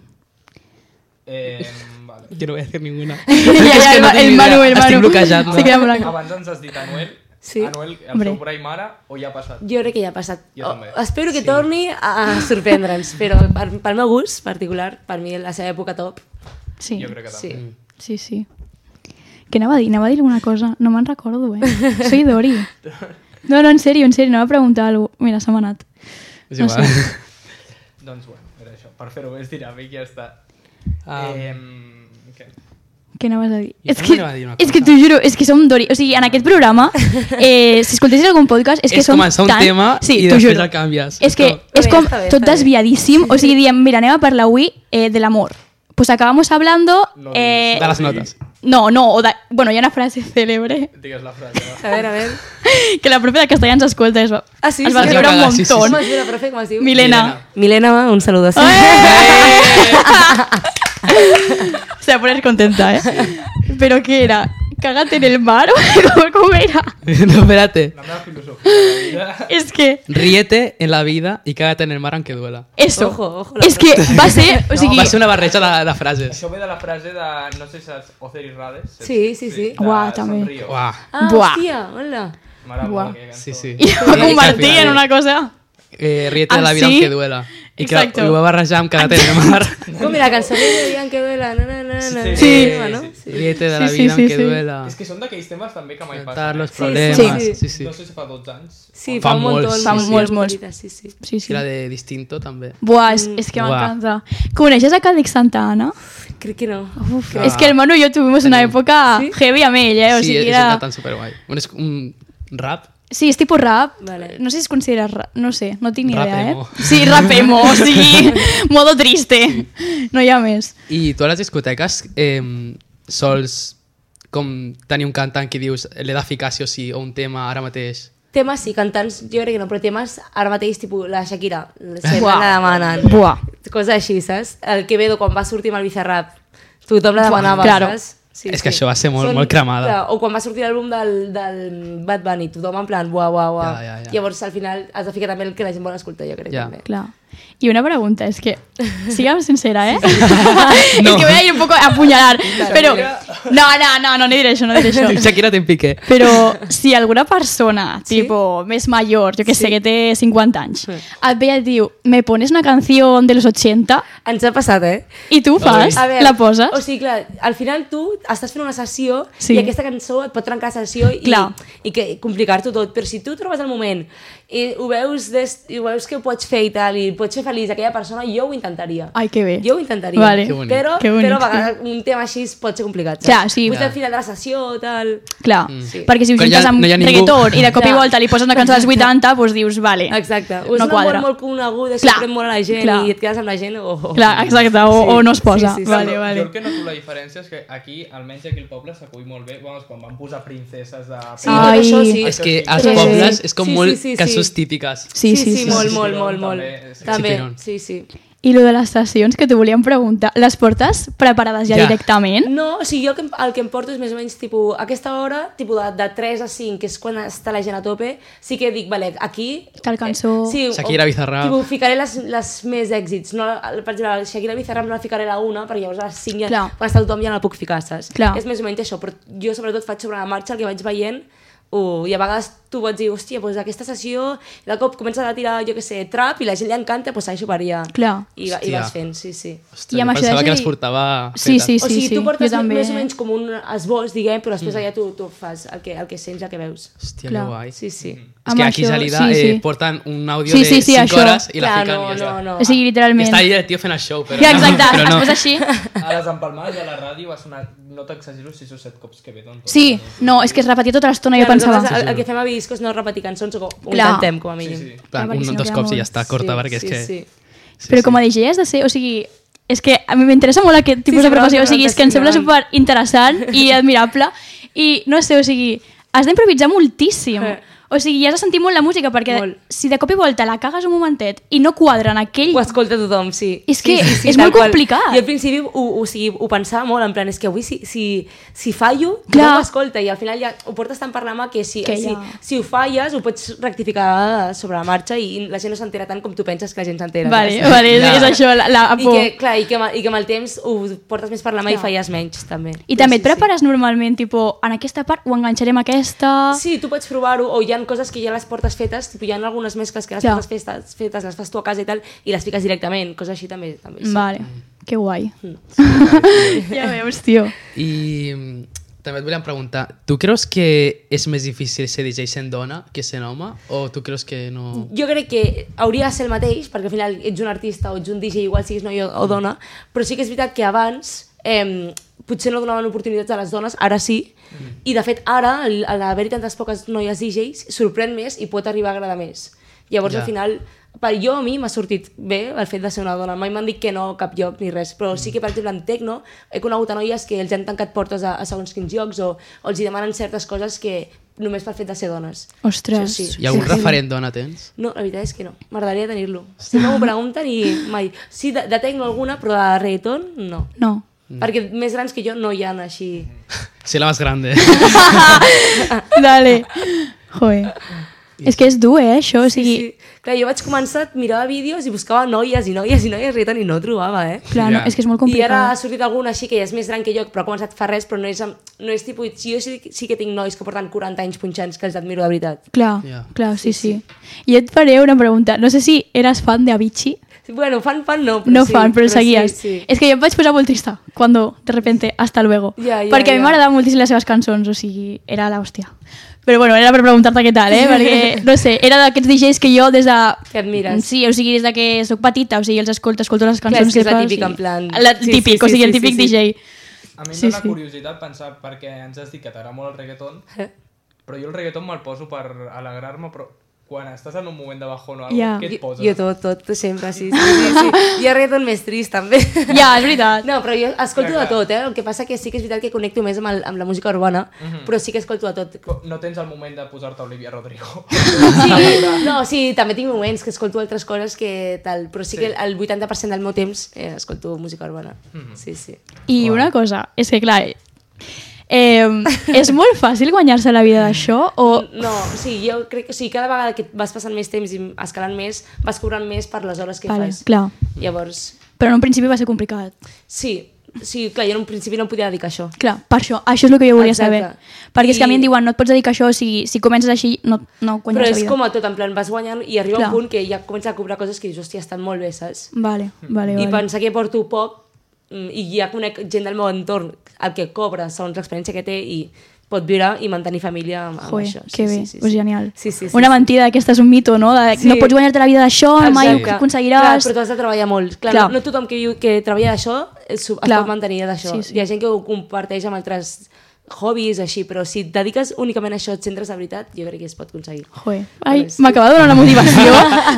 Speaker 1: Eh, vale.
Speaker 3: Yo no voy a decir
Speaker 2: *laughs*
Speaker 3: ninguna.
Speaker 2: Ja,
Speaker 3: *laughs*
Speaker 2: ja,
Speaker 3: que
Speaker 2: el,
Speaker 3: no
Speaker 2: el,
Speaker 3: tinc ni
Speaker 2: Manu,
Speaker 3: idea.
Speaker 2: el Manu.
Speaker 3: Estic bloquejat,
Speaker 2: Sí,
Speaker 3: no?
Speaker 2: queda molt blanc.
Speaker 1: Abans ens has dit Anuel.
Speaker 4: Sí.
Speaker 1: Anuel, el
Speaker 2: Hombre.
Speaker 1: seu brai mare, o ja ha passat?
Speaker 4: Jo crec que ja ha passat.
Speaker 1: Jo també.
Speaker 4: espero que torni a, a sorprendre'ns, però per, pel meu gust particular, per mi la seva època top,
Speaker 2: Sí,
Speaker 1: Jo crec que també.
Speaker 4: sí.
Speaker 2: sí, sí. Què anava a dir? Anava a dir alguna cosa. No me'n recordo,
Speaker 4: *laughs*
Speaker 2: eh? Soy Dori. No, no, en sèrio, en sèrio, anava a preguntar alguna cosa. Mira, se m'ha anat.
Speaker 3: És
Speaker 2: *laughs*
Speaker 3: *laughs* igual.
Speaker 1: Doncs bueno, era això. Per fer-ho més dinàmic ja està.
Speaker 3: Ah.
Speaker 1: Em, què?
Speaker 2: Què anaves a dir?
Speaker 3: Jo
Speaker 2: És que,
Speaker 3: també anava a dir una
Speaker 2: és que t'ho juro, és que som Dori. O sigui, en aquest
Speaker 3: *laughs*
Speaker 2: programa, eh, si escoltessis algun podcast, és que
Speaker 3: És
Speaker 2: som
Speaker 3: començar un
Speaker 2: tan...
Speaker 3: tema
Speaker 2: sí,
Speaker 3: i
Speaker 2: t'ho
Speaker 3: després
Speaker 2: juro.
Speaker 3: el canvies.
Speaker 2: És que
Speaker 3: No.
Speaker 2: és
Speaker 4: Bé,
Speaker 2: com
Speaker 4: està bé,
Speaker 2: tot
Speaker 4: està bé.
Speaker 2: desviadíssim. O sigui, diem, mira, anem a parlar avui eh, de l'amor. Pues acabamos hablando...
Speaker 1: No
Speaker 2: Eh,
Speaker 1: diguis.
Speaker 3: De les notes.
Speaker 2: no, no, o de, bueno, hi ha una frase *laughs* cèlebre
Speaker 1: Digues la frase. va.
Speaker 4: A veure,
Speaker 2: *laughs*
Speaker 4: a veure.
Speaker 2: que la profe de castellà ens escolta es va,
Speaker 4: Ah, sí?
Speaker 2: es va
Speaker 4: Sí,
Speaker 2: riure
Speaker 3: es va
Speaker 2: un
Speaker 3: cagar,
Speaker 2: montón.
Speaker 3: sí, sí,
Speaker 4: Com es diu la profe? Com es diu?
Speaker 2: Milena.
Speaker 4: Milena, un saludo. Sí.
Speaker 2: *laughs*
Speaker 3: Eh.
Speaker 2: Se va a poner contenta, ¿eh? Pero ¿qué era? Cágate en el mar, o *laughs* ¿cómo era?
Speaker 3: *laughs* No, espérate.
Speaker 1: La meva filosofia de la
Speaker 4: *laughs*
Speaker 1: vida.
Speaker 2: Es que...
Speaker 3: Ríete en la vida y cágate en el mar aunque duela.
Speaker 2: Eso.
Speaker 4: Ojo, ojo, la
Speaker 2: és que va ser... O sigui,
Speaker 3: Va ser una barreja de, de
Speaker 1: *laughs*
Speaker 3: frases.
Speaker 1: Això ve de la frase de, no sé si saps, Oceris Rades. saps?
Speaker 4: Sí, sí, sí.
Speaker 1: de
Speaker 2: Uah, també.
Speaker 1: Somriu.
Speaker 3: Uah.
Speaker 4: Ah,
Speaker 2: Buah.
Speaker 4: hòstia, hola.
Speaker 1: M'agrada
Speaker 2: Uah.
Speaker 1: molt aquella cançó.
Speaker 3: Sí, sí.
Speaker 2: I ho va convertir en una cosa...
Speaker 3: Eh, ríete de
Speaker 2: Ah,
Speaker 3: la vida
Speaker 2: sí?
Speaker 3: aunque duela. I que
Speaker 2: Exacto.
Speaker 3: ho va barrejar amb cágate en el
Speaker 2: *laughs*
Speaker 3: mar.
Speaker 4: Com era cançó de Ian que duela, na, na, na, na,
Speaker 1: Sí.
Speaker 4: na, no?
Speaker 1: Sí.
Speaker 3: Ríete de la
Speaker 2: Sí, sí,
Speaker 3: vida
Speaker 2: sí,
Speaker 3: aunque
Speaker 2: sí.
Speaker 3: duela.
Speaker 1: És que són d'aquells temes també que mai
Speaker 3: Enfrentar
Speaker 1: passen.
Speaker 3: Ah. los
Speaker 1: eh?
Speaker 3: problemas.
Speaker 4: sí,
Speaker 3: Sí, sí.
Speaker 4: sí.
Speaker 1: No sé si fa 12 anys.
Speaker 4: Sí,
Speaker 3: Fa
Speaker 4: fa, un
Speaker 3: molts,
Speaker 4: montón,
Speaker 3: sí,
Speaker 4: fa
Speaker 2: sí.
Speaker 4: molts,
Speaker 2: Molts, molts.
Speaker 4: molts. Sí, sí.
Speaker 2: Sí,
Speaker 3: I
Speaker 2: sí.
Speaker 3: la de distinto també.
Speaker 2: Buah, és, és que
Speaker 3: Buah.
Speaker 2: m'encanta. Coneixes a Cadix Santa Ana?
Speaker 4: Crec que no.
Speaker 2: Uf,
Speaker 3: Ah.
Speaker 2: és que el Manu i jo tuvimos una època
Speaker 4: Sí?
Speaker 2: heavy amb ell, eh? O
Speaker 3: Sí,
Speaker 2: sigui,
Speaker 3: és
Speaker 2: era...
Speaker 3: una tan superguai. Bueno, és un rap.
Speaker 2: Sí, és tipus rap.
Speaker 4: Vale.
Speaker 2: No sé si es considera rap, no sé, no tinc ni
Speaker 3: Rap
Speaker 2: idea, eh?
Speaker 3: emo.
Speaker 2: Sí, rap emo, o sigui, modo triste. No hi ha més.
Speaker 3: I tu a les discoteques eh, sols com tenir un cantant que dius l'he de ficar sí o sí o un tema ara mateix?
Speaker 4: Temes sí, cantants jo crec que no, però temes ara mateix, tipus la Shakira, sempre
Speaker 2: Buah.
Speaker 4: la demanen.
Speaker 2: Buah.
Speaker 4: Coses així, saps? El Quevedo, quan va sortir amb el Bizarrap, tothom la demanava,
Speaker 2: Buah, claro.
Speaker 4: saps? Sí,
Speaker 3: És que això va ser molt- molt cremada.
Speaker 4: Clar, o quan va sortir l'àlbum del, del Bad Bunny, tothom en plan, buah, buah, buah.
Speaker 3: Ja, ja, ja.
Speaker 4: Llavors, al final, has de ficar també el que la gent vol escoltar, jo crec.
Speaker 3: Ja.
Speaker 4: També.
Speaker 2: Clar. Y una pregunta, es que, sigamos sincera, ¿eh? *laughs*
Speaker 3: No.
Speaker 2: Es que voy a ir un poco a apuñalar, pero... No, no, no, no, no diré eso, no diré
Speaker 4: *laughs*
Speaker 2: eso.
Speaker 3: *laughs* Shakira te'n piqué.
Speaker 2: Però si alguna persona, tipo, més major, jo que sé, que té 50 anys, et ve i et diu, me pones una canció de los 80,
Speaker 4: Ens ha passat, eh?
Speaker 2: i tu fas,
Speaker 4: A veure,
Speaker 2: la poses...
Speaker 4: O sigui, clar, al final tu estàs fent una sessió
Speaker 2: Sí.
Speaker 4: sí. i aquesta cançó et pot trencar la sessió i,
Speaker 2: Clar.
Speaker 4: i que complicar-t'ho tot, però si tu trobes el moment i ho veus, des, i ho veus que ho pots fer i tal, i pots fer feliç aquella persona, jo ho intentaria.
Speaker 2: Ai, que bé.
Speaker 4: Jo ho intentaria.
Speaker 2: Vale.
Speaker 3: Que bonic.
Speaker 4: Però,
Speaker 2: Que bonic,
Speaker 4: però a vegades un tema així pot ser complicat. saps?
Speaker 2: Clar, sí.
Speaker 4: Potser
Speaker 2: Clar.
Speaker 4: al final de la sessió, tal...
Speaker 2: Clar,
Speaker 4: Sí.
Speaker 2: perquè si ho
Speaker 3: Quan
Speaker 2: juntes
Speaker 3: Mm. ja-
Speaker 2: amb
Speaker 3: no hi ha ningú.
Speaker 2: reggaeton i de cop i
Speaker 4: *laughs* Clar.
Speaker 2: volta li poses una cançó dels 80, doncs dius, vale.
Speaker 4: Exacte. O
Speaker 2: No
Speaker 4: és una
Speaker 2: quadra.
Speaker 4: molt, molt coneguda,
Speaker 2: Clar.
Speaker 4: sorprèn molt a la gent
Speaker 2: Clar.
Speaker 4: i et quedes amb la gent... Oh, oh.
Speaker 2: Clar, exacte, o,
Speaker 4: Sí.
Speaker 2: o no es posa.
Speaker 4: Sí, sí, sí.
Speaker 2: Vale,
Speaker 1: Jo- Jo
Speaker 2: vale.
Speaker 1: el que noto la diferència és que aquí, almenys aquí al poble, s'acull molt bé vamos, quan van posar princeses de...
Speaker 4: Sí, tot
Speaker 2: Ai.
Speaker 4: això sí.
Speaker 3: És que als
Speaker 4: Sí.
Speaker 3: pobles és com
Speaker 4: Sí, sí,
Speaker 3: molt
Speaker 4: sí, sí.
Speaker 3: cançons típiques.
Speaker 2: Sí, sí, sí.
Speaker 4: sí, molt,
Speaker 1: sí.
Speaker 4: molt, molt,
Speaker 1: També,
Speaker 4: molt.
Speaker 1: sí.
Speaker 4: També,
Speaker 3: Chipirón.
Speaker 4: sí, sí.
Speaker 2: I lo de les sessions que t'ho volíem preguntar, les portes preparades ja,
Speaker 3: Ja.
Speaker 2: directament?
Speaker 4: No, o sigui, jo el que, em- el que em porto és més o menys tipus, aquesta hora, tipus de, de 3 a 5, que és quan està la gent a tope, sí que dic, vale, aquí... eh,
Speaker 2: Tal cançó.
Speaker 4: Sí,
Speaker 3: Shakira, Bizarrap.
Speaker 4: Tipus, ficaré les, les més èxits. No, el- per exemple, el Shakira Bizarrap no la ficaré la una, perquè llavors a les 5 ja,
Speaker 2: Clar.
Speaker 4: quan està tothom ja no la puc ficar, saps?
Speaker 2: Clar.
Speaker 4: És més o menys això, però jo sobretot faig sobre la marxa el que vaig veient Uh, i a vegades tu pots dir, hòstia, doncs aquesta sessió de cop comença a tirar, jo què sé, trap i la gent li encanta, doncs això per allà.
Speaker 2: Clar.
Speaker 4: I, va-
Speaker 3: Hòstia.
Speaker 4: I vas fent, sí, sí.
Speaker 3: Ostres,
Speaker 2: I amb
Speaker 3: jo
Speaker 2: això
Speaker 3: pensava
Speaker 2: de
Speaker 3: que
Speaker 2: Shakira-
Speaker 3: les portava
Speaker 2: Sí, sí,
Speaker 3: fetes.
Speaker 4: o sigui,
Speaker 2: sí,
Speaker 4: tu portes
Speaker 2: jo també.
Speaker 4: més o menys com un esbós, diguem, però
Speaker 1: Mm.
Speaker 4: després allà tu, tu fas el que, el que sents, el que veus.
Speaker 3: Hòstia,
Speaker 2: Clar.
Speaker 3: que guai.
Speaker 4: Sí, sí.
Speaker 1: Mm-hmm.
Speaker 3: És que
Speaker 2: Amb
Speaker 3: aquí
Speaker 2: això,
Speaker 3: Jalida
Speaker 2: sí, sí.
Speaker 3: eh, porten un àudio
Speaker 2: Sí,
Speaker 3: de
Speaker 2: sí, sí,
Speaker 3: 5
Speaker 2: això.
Speaker 3: hores i la
Speaker 4: Clar,
Speaker 3: fiquen
Speaker 4: no,
Speaker 3: i ja
Speaker 4: no,
Speaker 3: està.
Speaker 4: no.
Speaker 2: O sigui,
Speaker 3: I
Speaker 2: literalment.
Speaker 3: està ahí el tio fent el show, però,
Speaker 2: Ja, exacte, Ah,
Speaker 3: però no.
Speaker 2: es posa així.
Speaker 1: A les empalmades de la ràdio va sonar, no t'exagero, 6 o 7 cops que ve doncs. d'on.
Speaker 2: Sí, no, és que es repetia tota l'estona, jo
Speaker 4: Clar, nosaltres
Speaker 2: pensava.
Speaker 4: El, el que fem a Viscos no és repetir cançons, o ho
Speaker 2: Clar.
Speaker 4: intentem, com a
Speaker 1: Sí,
Speaker 4: mínim.
Speaker 1: sí.
Speaker 3: En Plan,
Speaker 2: perquè si
Speaker 3: un,
Speaker 2: no
Speaker 3: dos
Speaker 2: queda
Speaker 3: cops i
Speaker 2: molt.
Speaker 3: ja està, corta, perquè és
Speaker 4: sí,
Speaker 3: que...
Speaker 4: Sí.
Speaker 3: Sí,
Speaker 2: Però
Speaker 3: sí.
Speaker 2: com a DJ has de ser, o sigui, és que a mi m'interessa molt aquest tipus
Speaker 4: sí,
Speaker 2: de professió, o
Speaker 4: però-
Speaker 2: sigui, és que em sembla
Speaker 4: però-
Speaker 2: super interessant
Speaker 4: *laughs*
Speaker 2: i admirable i no sé, o sigui, has d'improvisar moltíssim.
Speaker 4: Eh.
Speaker 2: O sigui, i has de sentir molt la música perquè
Speaker 4: Molt.
Speaker 2: si de cop i volta la cagues un momentet i no quadra en aquell...
Speaker 4: Ho escolta tothom, sí.
Speaker 2: És
Speaker 4: Sí,
Speaker 2: que
Speaker 4: sí, sí,
Speaker 2: és
Speaker 4: tal
Speaker 2: molt
Speaker 4: qual.
Speaker 2: complicat.
Speaker 4: Jo al principi ho, ho, o sigui, ho pensava molt, en plan, és que avui si, si, si fallo,
Speaker 2: Clar.
Speaker 4: no m'escolta, i al final ja ho portes tant per la mà que si,
Speaker 2: Que
Speaker 4: si,
Speaker 2: ja.
Speaker 4: si ho falles ho pots rectificar sobre la marxa i la gent no s'entera tant com tu penses que la gent s'entera.
Speaker 2: Vale,
Speaker 4: saps?
Speaker 2: vale, és,
Speaker 3: Ja.
Speaker 2: és això, la, la
Speaker 4: I
Speaker 2: por.
Speaker 4: que, clar, i que, ma- i que amb el temps ho portes més per la mà
Speaker 2: Ah, Clar.
Speaker 4: i falles menys, també.
Speaker 2: I també et prepares normalment, tipo, en aquesta part ho enganxarem a aquesta...
Speaker 4: Sí, tu pots provar-ho, o hi ha coses que ja les portes fetes, tipus, hi ha algunes mescles que les
Speaker 2: Clar.
Speaker 4: portes fetes, fetes, les fas tu a casa i tal, i les fiques directament, coses així també. també sí.
Speaker 2: Vale, que guai. *laughs* ja veus, tio.
Speaker 3: I mm, també et volíem preguntar, tu creus que és més difícil ser DJ sent dona que sent home? O tu creus que no...
Speaker 4: Jo crec que hauria de ser el mateix, perquè al final ets un artista o ets un DJ, igual siguis noi o, o dona, però sí que és veritat que abans eh, potser no donaven oportunitats a les dones, ara sí, i de fet ara, al al haver-hi tantes poques noies DJs, sorprèn més i pot arribar a agradar més. Llavors,
Speaker 3: Ja.
Speaker 4: al final, per jo a mi m'ha sortit bé el fet de ser una dona. Mai m'han dit que no a cap lloc ni res, però sí que, per exemple, en Tecno he conegut a noies que els han tancat portes a, a segons quins llocs o, o els hi demanen certes coses que només pel fet de ser dones.
Speaker 2: Ostres.
Speaker 4: Sí, sí.
Speaker 3: Hi ha algun referent dona tens?
Speaker 4: No, la veritat és que no. M'agradaria tenir-lo. Sempre m'ho pregunten i mai. Sí, de, de tecno alguna, però de reggaeton, no.
Speaker 2: No.
Speaker 4: Perquè més grans que jo no hi ha així.
Speaker 3: Sé la más
Speaker 4: *laughs*
Speaker 3: grande.
Speaker 2: Dale. Joder. És que és dur, eh, això? O sigui,
Speaker 4: Sí. Clar, jo vaig començar, mirava vídeos i buscava noies i noies i noies, Rita, i no ho trobava, eh?
Speaker 2: clar, no,
Speaker 3: Ja.
Speaker 2: és que és molt
Speaker 4: I ara ha
Speaker 2: complicat.
Speaker 4: sortit algun així que ja és més gran que jo, però ha començat fa res, però no és, amb- no és tipus... Jo sí, sí que tinc nois que porten 40 anys punxants que els admiro de veritat.
Speaker 2: Clar,
Speaker 3: Ja.
Speaker 2: clar, sí, sí. Jo et faré una pregunta. No sé si eres fan de Avicii.
Speaker 4: Bueno, fan, fan no, però
Speaker 2: No
Speaker 4: sí.
Speaker 2: fan, pero seguías.
Speaker 4: Sí, sí.
Speaker 2: Es que yo me vaig posar molt trista cuando de repente hasta luego.
Speaker 4: Ja, ja,
Speaker 2: Perquè a mi
Speaker 4: ja.
Speaker 2: m'agradaven moltíssim les seves cançons, o sigui, era la hòstia. Però bueno, era per preguntar-te què tal, eh?
Speaker 4: *laughs*
Speaker 2: Perquè, no sé, era d'aquests DJs que jo des de...
Speaker 4: Que admires.
Speaker 2: Sí, o sigui, des de que sóc petita, o sigui, els escolto, escolto les
Speaker 4: és
Speaker 2: cançons
Speaker 4: que és la
Speaker 2: seves,
Speaker 4: típica,
Speaker 2: i-
Speaker 4: en plan-
Speaker 2: La,
Speaker 4: Sí, sí,
Speaker 2: típic, o
Speaker 4: sí,
Speaker 2: sigui, el
Speaker 4: sí,
Speaker 2: típic
Speaker 4: sí, sí.
Speaker 2: DJ.
Speaker 1: A mi em
Speaker 2: Sí,
Speaker 1: dona
Speaker 2: sí.
Speaker 1: curiositat pensar perquè ens has dit que t'agrada molt el reggaeton,
Speaker 2: Eh,
Speaker 1: però jo el reggaeton me'l poso per alegrar-me, però quan estàs en un moment de bajón o alguna
Speaker 2: Ja.
Speaker 1: què et
Speaker 4: Jo,
Speaker 1: poses?
Speaker 4: jo tot, tot, sempre, sí, sí, sí, sí. I ara ja tot més trist, també.
Speaker 2: Ja, és veritat.
Speaker 4: No, però jo escolto
Speaker 1: Clar,
Speaker 4: de
Speaker 1: clar.
Speaker 4: tot, eh? El que passa que sí que és veritat que connecto més amb, el, amb la música urbana, però Mhm. sí que escolto de tot.
Speaker 1: Co- No tens el moment de posar-te Olivia Rodrigo.
Speaker 4: Sí, no, sí, també tinc moments que escolto altres coses que tal, però sí, que el 80% del meu temps eh, escolto música urbana. Sí, sí.
Speaker 2: I una cosa, és que clar, eh,
Speaker 4: *laughs*
Speaker 2: és molt fàcil guanyar-se la vida d'això o...
Speaker 4: No, sí, jo crec que sí, cada vegada que vas passant més temps i escalant més, vas cobrant més per les hores que
Speaker 2: Vale,
Speaker 4: fas.
Speaker 2: clar.
Speaker 4: Llavors,
Speaker 2: Però en un principi va ser complicat.
Speaker 4: sí, sí, clar, jo en un principi no em podia dedicar a això.
Speaker 2: Clar, per això, això és el que jo volia
Speaker 4: Exacte.
Speaker 2: saber. Perquè I... és que a mi em
Speaker 4: I-
Speaker 2: diuen, no et pots dedicar a això, o sigui, si comences així no, no
Speaker 4: Però
Speaker 2: guanyes la
Speaker 4: és
Speaker 2: vida.
Speaker 4: com a tot, en plan, vas guanyant i arriba
Speaker 2: Clar.
Speaker 4: un punt que ja comença a cobrar coses que dius, hòstia, estan molt bé, saps?
Speaker 2: Vale, vale,
Speaker 4: I
Speaker 2: vale.
Speaker 4: pensar que porto poc mm, i ja conec gent del meu entorn el que cobra segons l'experiència que té i pot viure i mantenir família amb, amb
Speaker 2: Joder,
Speaker 4: Ah, això.
Speaker 2: que bé, sí, sí, sí. genial.
Speaker 4: Sí, sí, sí,
Speaker 2: Una
Speaker 4: sí.
Speaker 2: mentida, aquesta és un mito, no? De,
Speaker 4: Sí.
Speaker 2: No pots guanyar-te la vida d'això, mai ho
Speaker 4: Exacte. Clar,
Speaker 2: aconseguiràs.
Speaker 4: però t'has de treballar molt. Clar,
Speaker 2: Clar.
Speaker 4: No, no tothom que, viu, que treballa d'això es, es
Speaker 2: Clar.
Speaker 4: pot mantenir d'això.
Speaker 2: Sí,
Speaker 4: Sí,
Speaker 2: sí.
Speaker 4: sí. Hi ha gent que ho comparteix amb altres hobbies, així, però si et dediques únicament a això, et centres de veritat, jo crec que es pot aconseguir.
Speaker 2: Joder, ai,
Speaker 4: Vale, sí.
Speaker 2: m'acaba de donar una
Speaker 4: *laughs*
Speaker 2: motivació,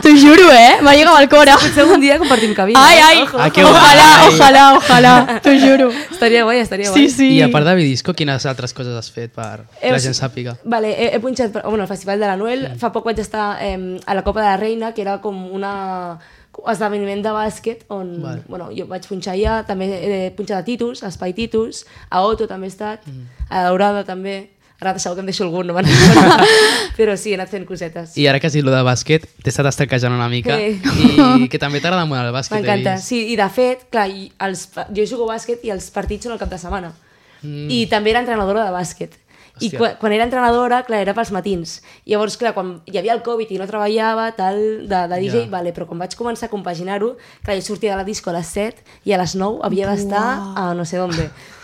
Speaker 2: t'ho juro, eh? M'ha llegat al cor.
Speaker 4: Potser algun dia compartim cabina.
Speaker 2: Ai,
Speaker 4: eh?
Speaker 2: ai,
Speaker 4: Ojo.
Speaker 3: Ah, que
Speaker 2: ojalà,
Speaker 3: guai.
Speaker 2: ojalà, ojalà, t'ho
Speaker 4: *laughs*
Speaker 2: juro.
Speaker 4: Estaria guai, estaria
Speaker 2: Sí,
Speaker 4: guai.
Speaker 2: sí.
Speaker 3: I a part de Vidisco, quines altres coses has fet per que la
Speaker 4: Heu-
Speaker 3: gent sàpiga?
Speaker 4: Vale, he, he punxat per- bueno, al Festival de l'Anuel. Mm. Fa poc vaig estar eh, a la Copa de la Reina, que era com una esdeveniment de bàsquet on
Speaker 3: Vale.
Speaker 4: bueno, jo vaig punxar allà, també he punxat a Titus, a Espai Titus, a Otto també he estat, mm. a Daurada també, ara segur que em deixo algun, no me'n recordo. *laughs* però sí, he anat fent cosetes.
Speaker 3: I ara que has dit lo de bàsquet, t'he estat estraquejant una mica
Speaker 4: Sí.
Speaker 3: i que també t'agrada molt el bàsquet.
Speaker 4: M'encanta,
Speaker 3: he vist.
Speaker 4: sí, i de fet, clar, i els, pa- jo jugo a bàsquet i els partits són el cap de setmana. Mm. I també era entrenadora de bàsquet. I
Speaker 3: Hòstia.
Speaker 4: quan, quan era entrenadora, clar, era pels matins. Llavors, clar, quan hi havia el Covid i no treballava, tal, de, de DJ,
Speaker 3: Ja.
Speaker 4: yeah. vale, però quan vaig començar a compaginar-ho, clar, jo sortia de la disco a les 7 i a les 9 havia d'estar a no sé d'on.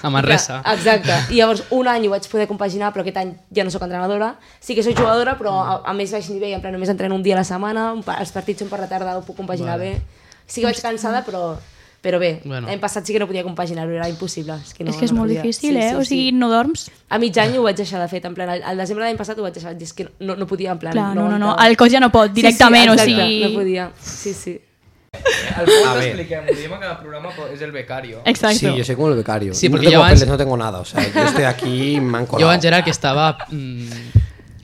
Speaker 3: A Manresa.
Speaker 4: Exacte. I llavors un any ho vaig poder compaginar, però aquest any ja no sóc entrenadora. Sí que sóc jugadora, però a, a més baix nivell, en plan només entreno un dia a la setmana, un pa, els partits són per la tarda, ho puc compaginar
Speaker 3: Vale.
Speaker 4: vale. bé. Sí que vaig cansada, però, però bé,
Speaker 3: Bueno.
Speaker 4: bueno. l'any passat sí que no podia compaginar-ho, era impossible. És que, no,
Speaker 2: és que és
Speaker 4: no
Speaker 2: molt
Speaker 4: podia.
Speaker 2: difícil,
Speaker 4: Sí,
Speaker 2: eh?
Speaker 4: sí,
Speaker 2: O sigui,
Speaker 4: Sí.
Speaker 2: no dorms.
Speaker 4: A mig any ho vaig deixar de fet, en plan, al, al desembre de l'any passat ho vaig deixar, és que no, no podia, en plan,
Speaker 2: Clar, no, no, no,
Speaker 4: aguantava.
Speaker 2: el cos ja no pot, directament,
Speaker 4: sí, sí,
Speaker 2: o
Speaker 4: exacte,
Speaker 2: sigui...
Speaker 4: No podia, sí, sí.
Speaker 1: Al punt
Speaker 5: A ver.
Speaker 1: expliquem, ho diem a cada programa, però és el becario.
Speaker 2: Exacto.
Speaker 5: Sí, yo soy como el becario.
Speaker 3: Sí,
Speaker 5: no
Speaker 3: porque
Speaker 5: tengo
Speaker 3: yo antes-
Speaker 5: papeles, no tengo nada. O sea, yo
Speaker 2: *laughs*
Speaker 5: estoy aquí, me han colado.
Speaker 3: Jo abans era el que estava mm,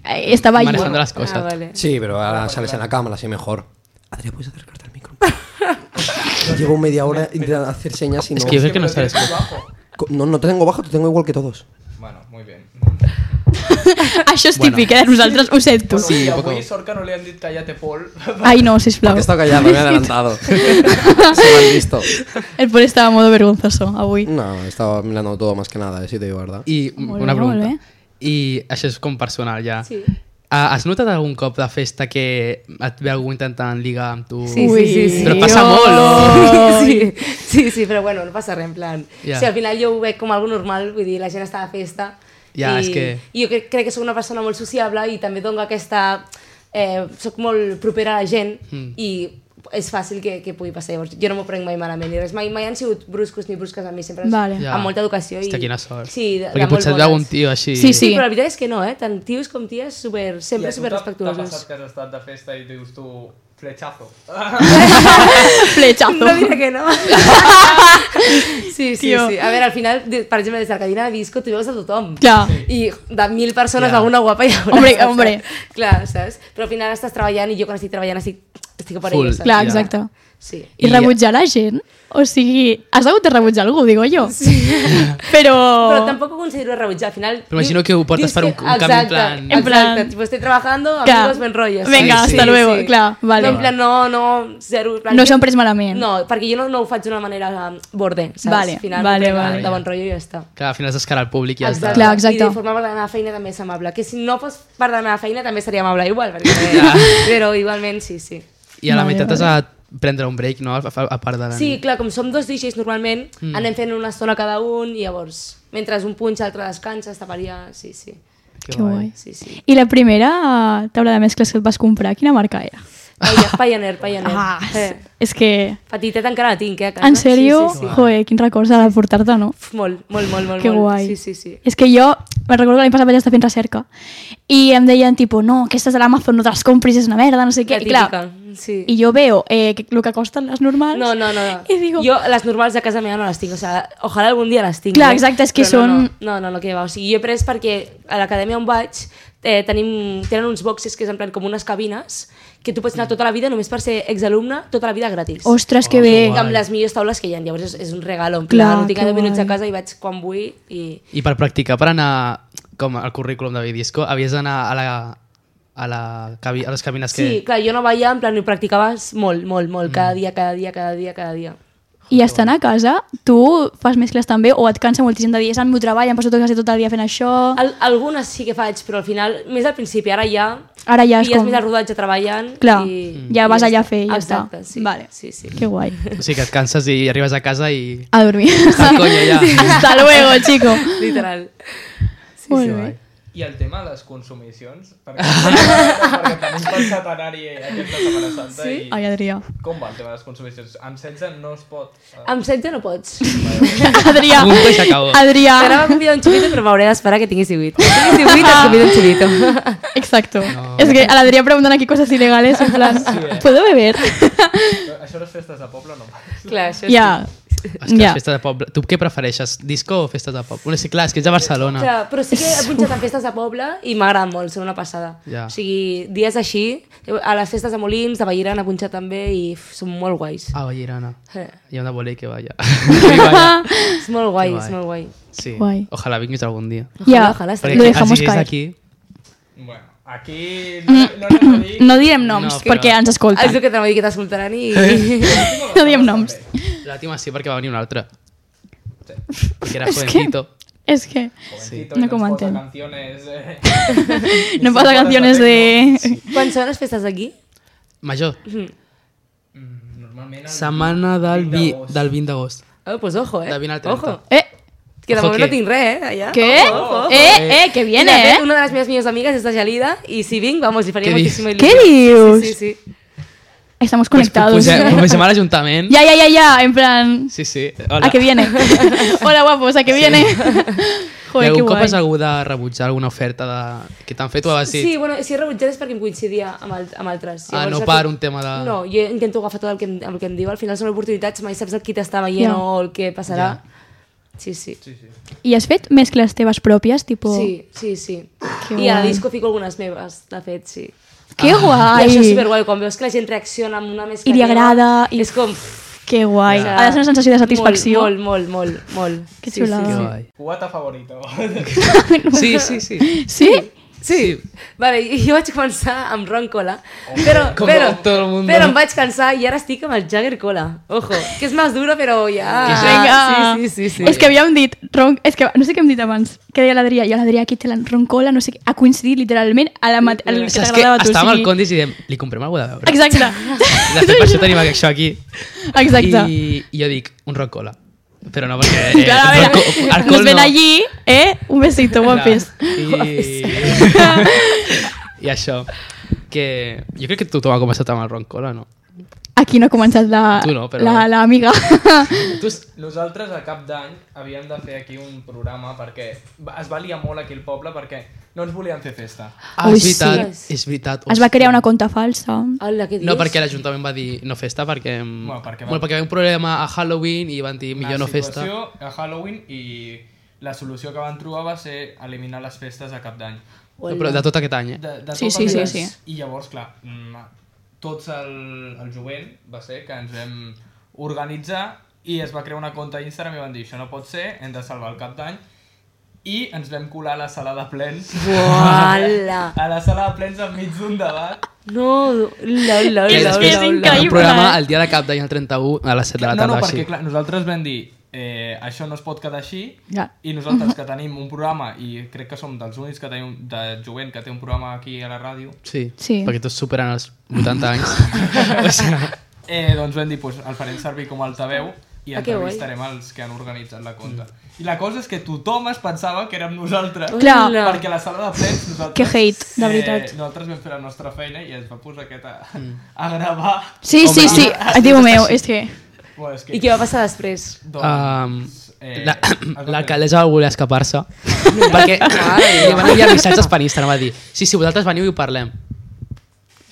Speaker 2: Eh, Estava allí.
Speaker 3: manejando las cosas.
Speaker 4: Ah, vale.
Speaker 5: Sí, pero ahora sales en la cámara, así mejor. Adrián, ¿puedes acercarte al micro? *laughs* Llevo media hora intentando hacer señas y no...
Speaker 3: Es que yo creo que no
Speaker 1: Siempre
Speaker 3: sabes.
Speaker 1: lo tienes bajo.
Speaker 5: Co- No, no te tengo bajo, te tengo igual que todos.
Speaker 1: Bueno, muy bien.
Speaker 2: Això és típic, eh? Nosaltres ho sento.
Speaker 1: Bueno, sí,
Speaker 3: un
Speaker 1: avui
Speaker 3: poco.
Speaker 1: sort que no li han dit callate Pol.
Speaker 2: Ai, no, sisplau.
Speaker 5: He estado callado,
Speaker 2: *laughs*
Speaker 5: me he adelantado. Se me han visto.
Speaker 2: El Pol estava en modo vergonzoso avui.
Speaker 5: No, estaba mirando todo más que nada, eh, si te digo verdad.
Speaker 3: I
Speaker 2: Molt bé,
Speaker 3: una pregunta.
Speaker 2: molt bé.
Speaker 3: I això és com personal, ja.
Speaker 4: Sí.
Speaker 3: Ah, has notat algun cop de festa que et ve algú intentant ligar amb tu?
Speaker 4: Sí, sí, sí, sí.
Speaker 3: Però passa molt,
Speaker 2: no?
Speaker 4: *laughs* Sí, sí, sí, però bueno, no passa res, en plan...
Speaker 3: Ja.
Speaker 4: Yeah. Si al final jo ho veig com algo normal, vull dir, la gent està de festa...
Speaker 3: Ja,
Speaker 4: i,
Speaker 3: és que-
Speaker 4: I jo crec, crec que sóc una persona molt sociable i també dono aquesta... Eh, sóc molt propera a la gent
Speaker 3: Hmm.
Speaker 4: mm. i és fàcil que, que pugui passar. Llavors, jo no m'ho prenc mai malament ni res. Mai, mai han sigut bruscos ni brusques amb mi, sempre
Speaker 2: Vale.
Speaker 4: yeah. amb molta educació.
Speaker 3: Hòstia,
Speaker 4: i...
Speaker 3: quina sort.
Speaker 4: Sí, de,
Speaker 3: Perquè
Speaker 4: de molt
Speaker 3: potser et veu un
Speaker 4: bones.
Speaker 3: tio així.
Speaker 2: Sí,
Speaker 4: Sí, però la veritat és que no, eh? Tant tios com ties, super, sempre super
Speaker 1: T'ha
Speaker 4: respectuosos.
Speaker 1: passat que has estat de festa i dius tu flechazo.
Speaker 2: *laughs* Flechazo.
Speaker 4: No diré que no. *laughs* sí, sí,
Speaker 2: Tio.
Speaker 4: sí. A veure, al final, de- per exemple, des de la cadira de disco tu veus a tothom.
Speaker 2: Clar.
Speaker 4: I de mil persones
Speaker 3: Ja.
Speaker 4: alguna guapa hi haurà.
Speaker 2: Hombre,
Speaker 4: *laughs* saps?
Speaker 2: hombre.
Speaker 4: Clar, saps? Però al final estàs treballant i jo quan estic treballant estic, estic estic per
Speaker 3: Full.
Speaker 4: ella, saps?
Speaker 2: Clar,
Speaker 3: Ja.
Speaker 2: exacte.
Speaker 4: Sí.
Speaker 2: I,
Speaker 3: I-
Speaker 2: rebutjarà gent? O sigui, has hagut de rebutjar algú, digo jo. Sí. *laughs* Però...
Speaker 4: Però tampoc ho considero rebutjar, al final...
Speaker 3: Però imagino que ho portes
Speaker 4: dius
Speaker 3: per un-
Speaker 4: que-
Speaker 3: un canvi en plan-
Speaker 4: Exacte,
Speaker 2: En plan-
Speaker 4: exacte, tipo, estoy trabajando,
Speaker 2: Clar.
Speaker 4: amigos, buen rollo. saps?
Speaker 2: Venga,
Speaker 3: Sí,
Speaker 2: hasta
Speaker 3: sí.
Speaker 2: luego, clar, vale.
Speaker 4: No, en plan, no, no, zero... en Plan,
Speaker 2: No s'ho han pres malament.
Speaker 4: No, perquè jo no, no ho faig d'una manera um, borde, saps?
Speaker 2: Vale,
Speaker 4: Al final,
Speaker 2: vale,
Speaker 4: en plan,
Speaker 2: vale.
Speaker 4: De bon rotllo i ja està.
Speaker 3: Clar, al final has d'escarar al públic i ja està.
Speaker 2: Clar, exacte.
Speaker 4: I de formar part de la meva feina també és amable. Que si no fos part de la meva feina també seria amable igual,
Speaker 3: *laughs*
Speaker 4: perquè... però igualment sí, sí.
Speaker 3: I a la
Speaker 2: Vale,
Speaker 3: meitat
Speaker 2: vale.
Speaker 3: has de prendre un break, no? A, a, a part de la
Speaker 4: Sí,
Speaker 3: nit.
Speaker 4: clar, com som dos DJs normalment, mm. anem fent una estona cada un i llavors, mentre un punxa, l'altre descansa, està per allà, sí, sí.
Speaker 2: Que guai.
Speaker 4: Sí, sí.
Speaker 2: I la primera eh, taula de mescles que et vas comprar, quina marca era?
Speaker 4: Pioneer, Pioneer, Pioneer.
Speaker 2: Ah,
Speaker 4: eh.
Speaker 2: és que...
Speaker 4: Petiteta encara la tinc, eh, a casa.
Speaker 2: En sèrio,
Speaker 4: Sí, sí, sí.
Speaker 2: joe, quins records ha de portar-te, no?
Speaker 4: Uf, molt, molt, molt, molt.
Speaker 2: Que
Speaker 4: molt.
Speaker 2: guai.
Speaker 4: Sí, sí, sí.
Speaker 2: És que jo, me recordo que l'any passat vaig estar fent recerca i em deien, tipo, no, aquestes de l'Amazon no te les compris, és una merda, no sé què.
Speaker 4: La
Speaker 2: I clar,
Speaker 4: típica, sí.
Speaker 2: i jo veo eh, que el que costen les normals
Speaker 4: No, no, no. no.
Speaker 2: i digo,
Speaker 4: Yo las normals de casa meva no les tinc, o sea, ojalá algun dia les tinc.
Speaker 2: Clar,
Speaker 4: eh?
Speaker 2: exacte, és que
Speaker 4: Però no,
Speaker 2: són-
Speaker 4: No, no, no, no, que va. O sigui, jo he pres perquè a l'acadèmia on vaig eh, tenim, tenen uns boxes que és en plan com unes cabines que tu pots anar tota la vida només per ser exalumne, tota la vida gratis.
Speaker 2: ostres, que
Speaker 3: Oh,
Speaker 2: bé.
Speaker 3: guai.
Speaker 4: amb les millors taules que hi ha. Llavors és, és un regalo, en
Speaker 2: Clar,
Speaker 4: plan, no tinc
Speaker 2: que
Speaker 4: 10 minuts a
Speaker 2: guai.
Speaker 4: casa i vaig quan vull i...
Speaker 3: I per practicar, per anar com al currículum de Vidisco, havies d'anar a la a, la, cabi- a les cabines que...
Speaker 4: Sí, clar, jo no vaia, en plan, ho practicaves molt, molt, molt, cada dia, cada dia, cada dia, cada dia.
Speaker 2: I estant a casa, tu fas mescles també o et cansa moltíssim de dir, és el meu treball, em passo tot, quasi tot el dia fent això...
Speaker 4: Al algunes sí que faig, però al final, més al principi, ara ja...
Speaker 2: Ara ja és
Speaker 4: pilles
Speaker 2: com-
Speaker 4: més el rodatge treballant
Speaker 2: Clar,
Speaker 4: i...
Speaker 2: ja
Speaker 4: i
Speaker 2: vas allà a
Speaker 4: està.
Speaker 2: fer i ja
Speaker 4: Exacte,
Speaker 2: està.
Speaker 4: Sí,
Speaker 2: Vale.
Speaker 4: sí, sí.
Speaker 2: Que guai.
Speaker 3: O sigui que et canses i arribes a casa i...
Speaker 2: A dormir.
Speaker 3: *laughs* Ah, conya, ja.
Speaker 2: Hasta luego, chico.
Speaker 4: Literal.
Speaker 2: Molt bé.
Speaker 1: I el tema de les consumicions,
Speaker 2: *laughs*
Speaker 1: perquè, perquè tenim pel setmanari aquesta Setmana Santa sí? i
Speaker 2: Ai,
Speaker 3: *laughs*
Speaker 2: Adrià.
Speaker 1: com va el tema de les consumicions? Amb 16 no es pot... eh,
Speaker 2: Ah.
Speaker 4: Amb 16 no pots.
Speaker 2: Adrià.
Speaker 3: Punto i s'acabó.
Speaker 2: Adrià.
Speaker 4: T'anava a convidar un xupito, però m'hauré d'esperar que tinguis 18. Quan tinguis 18 et convido un xupito.
Speaker 2: Exacto. Es que a la Adrià preguntan aquí cosas ilegales, en plan,
Speaker 3: eh.
Speaker 2: ¿puedo beber?
Speaker 1: Eh, Això a les festes de poble no passa.
Speaker 4: *laughs* Clar, això sí.
Speaker 2: ja.
Speaker 3: Ostres,
Speaker 2: Ja.
Speaker 3: festes de poble. Tu què prefereixes, disco o festes de poble? Bueno, sí, clar, és que ets de Barcelona.
Speaker 4: Clar, però sí que he punxat en festes de poble i m'agrada molt, són una passada.
Speaker 3: Ja.
Speaker 4: O sigui, dies així, a les festes de Molins, de Vallirana, punxat també i uf, són molt guais.
Speaker 3: Ah, Vallirana.
Speaker 4: Eh,
Speaker 3: Hi ha una bola que
Speaker 2: *laughs*
Speaker 3: vaya. Que vaya.
Speaker 4: És molt guai,
Speaker 3: Que
Speaker 4: és
Speaker 3: guai.
Speaker 4: molt guai.
Speaker 3: Sí.
Speaker 2: Guai.
Speaker 3: Ojalá vinguis algun dia.
Speaker 2: Ya,
Speaker 4: Ojalá, ojalá.
Speaker 2: lo
Speaker 3: aquí-
Speaker 2: dejamos
Speaker 3: si és
Speaker 2: caer.
Speaker 3: Aquí,
Speaker 1: Bueno, aquí no, no anem a dir...
Speaker 2: Mm, No direm noms,
Speaker 3: No, però-
Speaker 2: perquè ens
Speaker 4: Ah, És
Speaker 2: escolten.
Speaker 4: el que t'anava a dir que t'escoltaran i... *laughs*
Speaker 2: No diem noms.
Speaker 3: L'última sí, perquè va venir un altre.
Speaker 1: Sí.
Speaker 3: Perquè era
Speaker 2: *laughs* És que-
Speaker 3: jovencito.
Speaker 2: És que
Speaker 1: Jovencito,
Speaker 2: No
Speaker 1: no comenten.
Speaker 2: comenten.
Speaker 1: Canciones, eh,
Speaker 2: *laughs* no pasa canciones de...
Speaker 4: Quan són les festes d'aquí?
Speaker 3: Major.
Speaker 1: Mm, Normalment... el-
Speaker 3: Setmana del,
Speaker 1: Vint
Speaker 3: vi,
Speaker 1: d'agost.
Speaker 3: del 20 d'agost.
Speaker 4: Oh, pues ojo, eh?
Speaker 3: De 20 al 30.
Speaker 4: Ojo.
Speaker 2: Eh,
Speaker 4: Que de
Speaker 3: Ojo
Speaker 4: moment no
Speaker 3: que-
Speaker 4: tinc res, eh? Allà.
Speaker 2: ¿qué? Eh, eh, que
Speaker 4: Mira, de
Speaker 2: viene,
Speaker 4: fet,
Speaker 2: eh?
Speaker 4: Una de les meves millors amigues és de Gelida i si vinc, vamos, li faria
Speaker 3: Què dius?
Speaker 4: moltíssima il·lusió.
Speaker 2: Què dius?
Speaker 4: Sí, sí, sí.
Speaker 2: Estamos
Speaker 3: Pues
Speaker 2: conectados.
Speaker 3: posem-
Speaker 2: Ya,
Speaker 3: Posem a l'Ajuntament.
Speaker 2: ya, ya, ya, en plan...
Speaker 3: Sí, sí. Hola.
Speaker 2: ¿A qué
Speaker 3: *laughs*
Speaker 2: viene? Hola, guapos, ¿a qué viene?
Speaker 3: I
Speaker 2: Joder, qué
Speaker 3: algun cop
Speaker 2: guay.
Speaker 3: has hagut de rebutjar alguna oferta de... que t'han fet
Speaker 2: Ah,
Speaker 3: o has
Speaker 4: Sí,
Speaker 3: dit...
Speaker 4: sí bueno, si he rebutjat és perquè em coincidia amb, alt, amb altres.
Speaker 3: Ah, no
Speaker 4: al
Speaker 3: per
Speaker 4: fi-
Speaker 3: un tema de-
Speaker 4: No, jo intento agafar tot el que em, el que em diu. Al final són oportunitats, mai saps el qui t'està veient
Speaker 2: Ja.
Speaker 4: o el que passarà. Sí, sí.
Speaker 1: Sí, sí.
Speaker 2: I has fet mescles teves pròpies, tipo...
Speaker 4: Sí, sí, sí.
Speaker 2: Que
Speaker 4: I a la
Speaker 2: guai.
Speaker 4: disco fico algunes meves, de fet, sí.
Speaker 3: Ah.
Speaker 2: Que guai!
Speaker 4: I això és superguai, quan veus que la gent reacciona amb una mescla
Speaker 2: I li
Speaker 4: teva,
Speaker 2: agrada, i-
Speaker 4: És com...
Speaker 2: Que guai.
Speaker 4: O sea,
Speaker 2: Ha de ser una sensació de satisfacció.
Speaker 4: Molt, molt, molt, molt. molt.
Speaker 2: Que xulada.
Speaker 3: Que
Speaker 2: Sí.
Speaker 3: guai.
Speaker 1: Guata favorito. *laughs*
Speaker 3: Sí, sí, sí.
Speaker 2: Sí?
Speaker 4: Sí. Vale, i jo vaig començar amb Ron Cola, però,
Speaker 3: com
Speaker 4: però,
Speaker 3: todo el mundo.
Speaker 4: però em vaig cansar i ara estic amb el Jagger Cola. Ojo, que és més duro, però ja...
Speaker 2: Ah, Vinga.
Speaker 4: Sí, sí, sí. sí.
Speaker 2: És que havíem dit... Ron... És que no sé què hem dit abans. Que deia l'Adrià. Jo l'Adrià aquí té la roncola, no sé què. Ha coincidit literalment a la mat... el que
Speaker 3: Saps que
Speaker 2: t'agradava a tu.
Speaker 3: estàvem al
Speaker 2: sigui-
Speaker 3: Condis i dèiem, li comprem alguna cosa de beure.
Speaker 2: Exacte.
Speaker 3: De fet, per això tenim això aquí.
Speaker 2: Exacte. I...
Speaker 3: I, i jo dic, un rock cola. Però no, perquè... Eh,
Speaker 2: *laughs* Clar, a veure,
Speaker 3: rock-
Speaker 2: nos ven
Speaker 3: no.
Speaker 2: allí, eh? Un besito, guapes. *laughs*
Speaker 3: Clar. I... I això, que jo crec que tothom ha començat amb el ron cola, no?
Speaker 2: Aquí no ha començat la,
Speaker 3: Tu no, però-
Speaker 2: la, la amiga.
Speaker 3: Tu, s-
Speaker 1: Nosaltres a cap d'any havíem de fer aquí un programa perquè va- es valia molt aquí el poble perquè no ens volien fer festa.
Speaker 3: ah,
Speaker 2: Ui,
Speaker 3: és veritat,
Speaker 4: sí.
Speaker 3: és veritat.
Speaker 2: es va crear una conta falsa.
Speaker 4: Hola, què dius?
Speaker 3: No, perquè l'Ajuntament va dir no festa perquè... Bueno,
Speaker 1: perquè
Speaker 3: perquè,
Speaker 1: va-
Speaker 3: bueno, perquè va haver un problema a Halloween i van dir millor no festa.
Speaker 1: situació a Halloween i la solució que van trobar va ser eliminar les festes a cap d'any.
Speaker 3: No, però de tot aquest any, eh?
Speaker 1: De, de
Speaker 2: Sí,
Speaker 1: tot
Speaker 2: sí,
Speaker 1: el
Speaker 2: sí,
Speaker 1: mes.
Speaker 2: sí.
Speaker 1: I llavors, clar, mm, tots el, el jovent va ser que ens vam organitzar i es va crear una conta a Instagram i van dir això no pot ser, hem de salvar el cap d'any i ens vam colar a la sala de plens
Speaker 4: Uala!
Speaker 1: *laughs* a la sala de plens enmig d'un debat
Speaker 4: No, la, la,
Speaker 2: És
Speaker 4: la,
Speaker 2: que és
Speaker 4: la, la.
Speaker 2: increïble.
Speaker 3: El programa el dia de cap d'any, el 31, a les 7 de la
Speaker 1: no,
Speaker 3: tarda.
Speaker 1: no, perquè
Speaker 3: sí.
Speaker 1: clar, nosaltres vam dir eh, això no es pot quedar així
Speaker 2: Ja.
Speaker 1: i nosaltres que tenim un programa i crec que som dels únics que tenim de jovent que té un programa aquí a la ràdio
Speaker 3: Sí,
Speaker 2: Sí.
Speaker 3: perquè tots superen els 80
Speaker 1: *laughs*
Speaker 3: anys. o sigui,
Speaker 1: Eh, doncs vam dir, pues, el farem servir com a altaveu i
Speaker 4: Ah, que guai.
Speaker 1: entrevistarem els que han organitzat la conta. I la cosa és que tothom es pensava que érem nosaltres,
Speaker 2: Clar.
Speaker 1: perquè a la sala de plens nosaltres...
Speaker 2: Que hate, de veritat.
Speaker 1: Eh, nosaltres vam fer la nostra feina i es va posar aquest a,
Speaker 3: Mm.
Speaker 1: a gravar.
Speaker 2: Sí, sí, sí, diu meu, és que...
Speaker 1: Bueno, és que,
Speaker 4: I què va passar després?
Speaker 3: *laughs*
Speaker 1: Doncs,
Speaker 3: Um,
Speaker 1: eh,
Speaker 3: la-
Speaker 1: es va
Speaker 3: L'alcaldessa va voler
Speaker 1: *laughs*
Speaker 3: escapar-se perquè li van enviar missatges per Instagram va dir, sí, sí, vosaltres veniu i ho parlem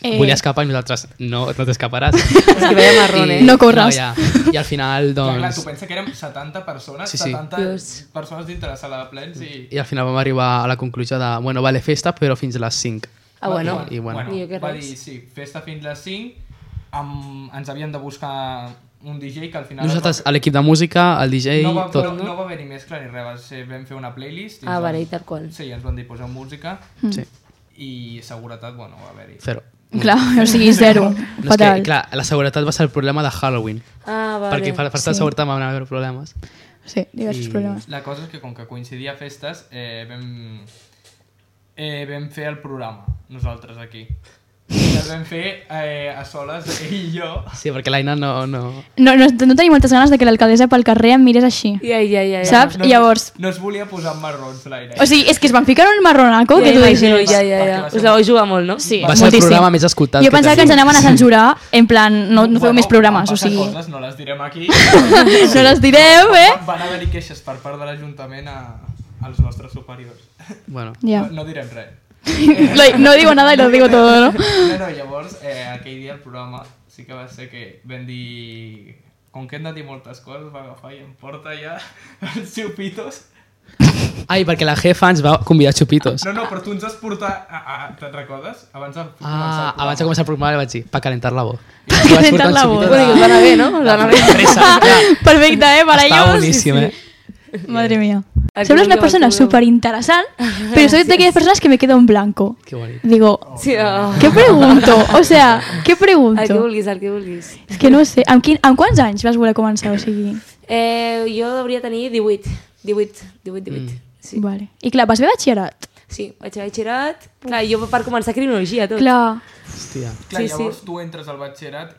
Speaker 3: eh. volia escapar i nosaltres no, no
Speaker 2: *laughs*
Speaker 3: t'escaparàs
Speaker 4: És que veia marrón, eh?
Speaker 2: No corres.
Speaker 3: ja. i al final
Speaker 1: fer- Clar, clar, tu
Speaker 3: doncs,
Speaker 1: pensa que érem 70 persones,
Speaker 3: Sí,
Speaker 1: sí,
Speaker 3: sí.
Speaker 1: sí. 70
Speaker 4: Dios.
Speaker 1: persones dintre la sala de plens i...
Speaker 3: i al final vam arribar a la conclusió de bueno, vale, festa però fins a les 5
Speaker 4: Ah, bueno.
Speaker 3: I, bueno.
Speaker 4: Ni jo que
Speaker 1: va
Speaker 4: res.
Speaker 1: dir, sí, festa fins les 5, amb, ens havíem de buscar un DJ que al final... es va
Speaker 3: nosaltres a l'equip de música, el DJ
Speaker 1: no va,
Speaker 3: tot
Speaker 1: no, no va haver-hi mescla ni res, va ser, vam fer una playlist. i
Speaker 4: Ah,
Speaker 1: ens
Speaker 4: vale, i
Speaker 1: van,
Speaker 4: tal qual.
Speaker 1: Sí, ens van dir posar música
Speaker 2: Mm.
Speaker 3: sí,
Speaker 1: i seguretat, bueno, va haver-hi.
Speaker 3: zero
Speaker 2: Clar, o sigui, zero.
Speaker 3: no, és que,
Speaker 2: Fatal.
Speaker 3: clar, la seguretat va ser el problema de Halloween
Speaker 4: Ah, vale.
Speaker 3: perquè per, per estar
Speaker 2: Sí.
Speaker 3: sí. seguretat van haver problemes
Speaker 2: Sí, diversos
Speaker 3: I-
Speaker 2: problemes.
Speaker 1: La cosa és que com que coincidia festes, eh, vam, eh, vam fer el programa, nosaltres aquí. I el vam fer eh, a soles, ell i jo.
Speaker 3: sí, perquè l'Aina no, no...
Speaker 2: No, no, no tenia moltes ganes de que l'alcaldessa pel carrer em mirés així.
Speaker 4: Ja, ja, ja. ja.
Speaker 2: Saps?
Speaker 1: No,
Speaker 2: Llavors-
Speaker 1: No es volia posar en marrons l'aire.
Speaker 2: O sigui, és que es van ficar un marronaco
Speaker 4: Ja,
Speaker 2: que tu
Speaker 4: imagino,
Speaker 2: dius...
Speaker 4: ja, ja, ja. Us la vau jugar molt, no?
Speaker 2: Sí,
Speaker 3: Va ser el
Speaker 2: moltíssim.
Speaker 3: programa més escoltat
Speaker 2: Jo
Speaker 3: que
Speaker 2: pensava que ens
Speaker 3: tenim.
Speaker 2: anaven a censurar, en plan, no, no feu
Speaker 1: Bueno,
Speaker 2: més
Speaker 1: van
Speaker 2: programes, o
Speaker 1: passar
Speaker 2: sigui...
Speaker 1: Coses, no les direm aquí.
Speaker 2: No les direu, *laughs* eh?
Speaker 1: Van haver-hi queixes per part de l'Ajuntament a, als nostres superiors.
Speaker 3: bueno,
Speaker 2: Ja.
Speaker 1: No, no direm res.
Speaker 2: Like, No digo nada y lo digo todo, ¿no?
Speaker 1: No, no, llavors, eh, aquell dia el programa sí que va ser que vam dir... Com que hem de dir moltes coses, va agafar i em porta ja *laughs* els xupitos.
Speaker 3: Ai, perquè la jefa ens va convidar a xupitos.
Speaker 1: No, no, però tu ens has portat... Ah, ah, te'n recordes? Abans de
Speaker 3: Ah,
Speaker 1: el
Speaker 3: abans
Speaker 1: programa.
Speaker 3: de començar el programa li vaig dir, pa calentar la voz.
Speaker 2: calentar la voz.
Speaker 4: Bueno, i us va anar
Speaker 3: *laughs*
Speaker 4: bé, no? Us va anar bé. *laughs*
Speaker 2: Perfecto, ¿eh? Para
Speaker 3: Estava
Speaker 2: ellos.
Speaker 3: boníssim, eh?
Speaker 2: Madre mía.
Speaker 4: Aquí
Speaker 2: Semblas
Speaker 4: no
Speaker 2: una persona
Speaker 4: llevas tú.
Speaker 2: súper interesante, pero soy de aquellas personas que me quedo en blanco.
Speaker 3: Que bonic.
Speaker 2: Digo,
Speaker 4: Sí, oh.
Speaker 2: ¿qué pregunto? O sea, ¿qué
Speaker 4: El que
Speaker 2: pregunto?
Speaker 4: vulguis, el que vulguis.
Speaker 2: Es que no sé. ¿Amb, quin, amb quants anys vas voler començar? O sigui...
Speaker 4: Eh, jo hauria de tenir 18. 18, 18, 18. Mm. Sí.
Speaker 2: Vale. I clar, vas fer batxillerat?
Speaker 4: sí, vaig a batxillerat. Clar, jo per començar criminologia, tot.
Speaker 2: Clar.
Speaker 3: Hòstia.
Speaker 1: Clar,
Speaker 4: Sí, sí.
Speaker 1: llavors tu entres al batxillerat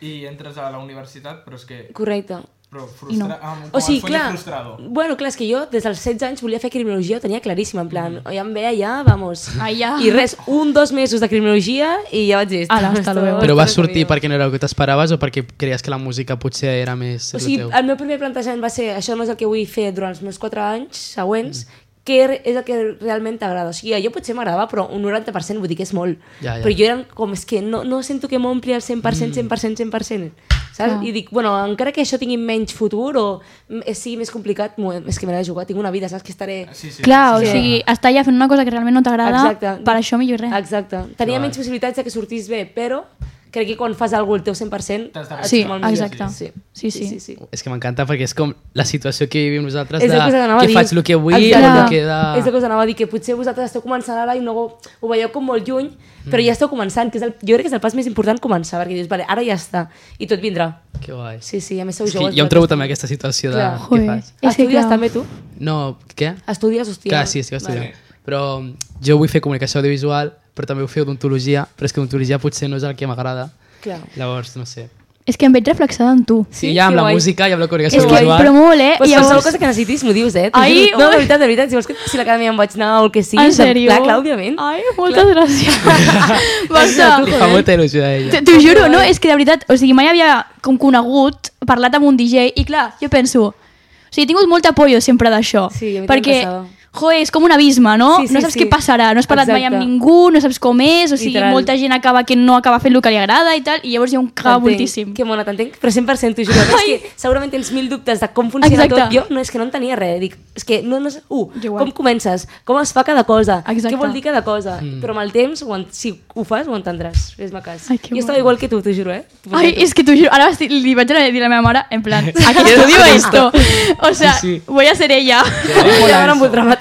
Speaker 1: i entres a la universitat, però és que...
Speaker 4: Correcte.
Speaker 1: Però frustra... ah, amb- com
Speaker 4: O sigui,
Speaker 1: el sueño
Speaker 4: clar,
Speaker 1: Frustrado.
Speaker 4: bueno, clar, és que jo des dels 16 anys volia fer criminologia, ho tenia claríssim, en plan, mm. ja em veia ja, vamos.
Speaker 2: Ah, ja.
Speaker 4: I res, un, dos mesos de criminologia i ja vaig dir...
Speaker 2: Ala, hasta luego.
Speaker 3: Però va sortir perquè no era el que t'esperaves o perquè creies que la música potser era més
Speaker 4: O
Speaker 3: el
Speaker 4: sigui,
Speaker 3: teu?
Speaker 4: el meu primer plantejament va ser això no és el que vull fer durant els meus 4 anys següents, mm. què re- és el que realment t'agrada. O sigui, jo potser m'agradava, però un 90% vull dir que és molt.
Speaker 3: Ja, ja.
Speaker 4: Però jo era com, és que no, no sento que m'ompli el 100%, 100%, 100%. Saps?
Speaker 2: Clar.
Speaker 4: I dic, bueno, encara que això tingui menys futur o m- eh, sigui més complicat, m'ho- és que me l'he de jugar, tinc una vida, saps? Que estaré...
Speaker 1: Ah, Sí, sí.
Speaker 2: Clar, o
Speaker 4: Sí.
Speaker 2: sigui, estar allà fent una cosa que realment no t'agrada,
Speaker 4: Exacte.
Speaker 2: per això millor res.
Speaker 4: Exacte. Tenia menys possibilitats de que sortís bé, però crec que quan fas alguna cosa el teu 100%
Speaker 1: T'has de
Speaker 4: és
Speaker 2: Sí,
Speaker 4: molt millor.
Speaker 2: exacte.
Speaker 4: Sí.
Speaker 2: Sí, sí.
Speaker 4: sí, sí.
Speaker 3: És que m'encanta perquè és com la situació que vivim nosaltres
Speaker 4: És
Speaker 3: de
Speaker 4: el que us anava a
Speaker 3: què
Speaker 4: dir.
Speaker 3: faig, el que vull,
Speaker 4: Exacte.
Speaker 3: el que de...
Speaker 4: És el que us anava a dir, que potser vosaltres esteu començant ara i no ho, ho veieu com molt lluny,
Speaker 3: Mm.
Speaker 4: però ja esteu començant, que és el, jo crec que és el pas més important començar, perquè dius, vale, ara ja està, i tot vindrà.
Speaker 3: Que guai.
Speaker 4: Sí, sí, a més sou
Speaker 3: És que
Speaker 4: joves.
Speaker 3: jo em trobo també aquesta situació de
Speaker 4: Clar.
Speaker 3: què
Speaker 2: Joder.
Speaker 3: faig.
Speaker 2: És que
Speaker 4: Estudies
Speaker 2: clar.
Speaker 4: també tu?
Speaker 3: No, què?
Speaker 4: Estudies, hòstia.
Speaker 3: Clar, sí, estic estudiant. Però mm, jo vull fer comunicació audiovisual, però també vull fer odontologia, però és que odontologia potser no és el que m'agrada.
Speaker 4: Clar.
Speaker 3: Llavors, no sé.
Speaker 2: És que em veig reflexada en tu.
Speaker 3: Sí,
Speaker 4: Sí,
Speaker 3: ja amb
Speaker 4: que
Speaker 3: la
Speaker 4: guai.
Speaker 3: música i amb la
Speaker 2: És
Speaker 3: coreografia
Speaker 2: que, però
Speaker 3: *laughs*
Speaker 2: molt, eh?
Speaker 4: Pues
Speaker 2: I
Speaker 4: qualsevol
Speaker 2: llavors-
Speaker 4: cosa que necessitis m'ho dius, eh? T'ho
Speaker 2: Ai,
Speaker 4: juro. no,
Speaker 2: ui.
Speaker 4: de veritat, de veritat, si vols que si l'acadèmia em vaig anar o el que sigui,
Speaker 2: en
Speaker 4: de-
Speaker 2: sèrio?
Speaker 4: clar, clar, òbviament.
Speaker 2: Ai, moltes clar. gràcies.
Speaker 4: *laughs*
Speaker 2: Basta.
Speaker 3: Li fa molta il·lusió a ella.
Speaker 2: T- T'ho juro, no?
Speaker 4: eh.
Speaker 2: És que de veritat, o sigui, mai havia com conegut, parlat amb un DJ, i clar, jo penso... O sigui, he tingut molt apoyo sempre d'això.
Speaker 4: Sí, a mi també
Speaker 2: perquè,
Speaker 4: em passava.
Speaker 2: jo, és com un abisme, no?
Speaker 4: Sí, sí,
Speaker 2: no saps
Speaker 4: sí.
Speaker 2: què passarà, no has parlat mai amb
Speaker 4: Exacte.
Speaker 2: ningú, no saps com és, o sigui,
Speaker 4: Literal.
Speaker 2: molta gent acaba que no acaba fent el que li agrada i tal, i llavors hi ha un caga voltíssim.
Speaker 4: Que mona, t'entenc, però 100% t'ho juro. És que segurament tens mil dubtes de com funciona
Speaker 2: Exacte.
Speaker 4: tot. Jo no, és que no en tenia res. Dic, és que no, no sé, uh,
Speaker 2: Jo igual.
Speaker 4: com comences? Com es fa cada cosa?
Speaker 2: Exacte.
Speaker 4: Què vol dir cada cosa? Mm. Però amb el temps, ho en, si ho fas, ho entendràs. Fes-me cas.
Speaker 2: Ai, que
Speaker 4: jo estava
Speaker 2: guai.
Speaker 4: igual que tu, t'ho juro, eh? T'ho
Speaker 2: Ai,
Speaker 4: juro.
Speaker 2: és que tú juro, ahora sí, li vaig anar a dir a la meva mare, en
Speaker 4: *laughs*
Speaker 2: plan, aquí
Speaker 3: Quiero
Speaker 2: estudio
Speaker 3: hacer
Speaker 2: esto. O sea,
Speaker 3: Sí, sí.
Speaker 2: voy a ser
Speaker 4: *laughs*
Speaker 2: ella.
Speaker 4: Ai, ara em voldrà matar.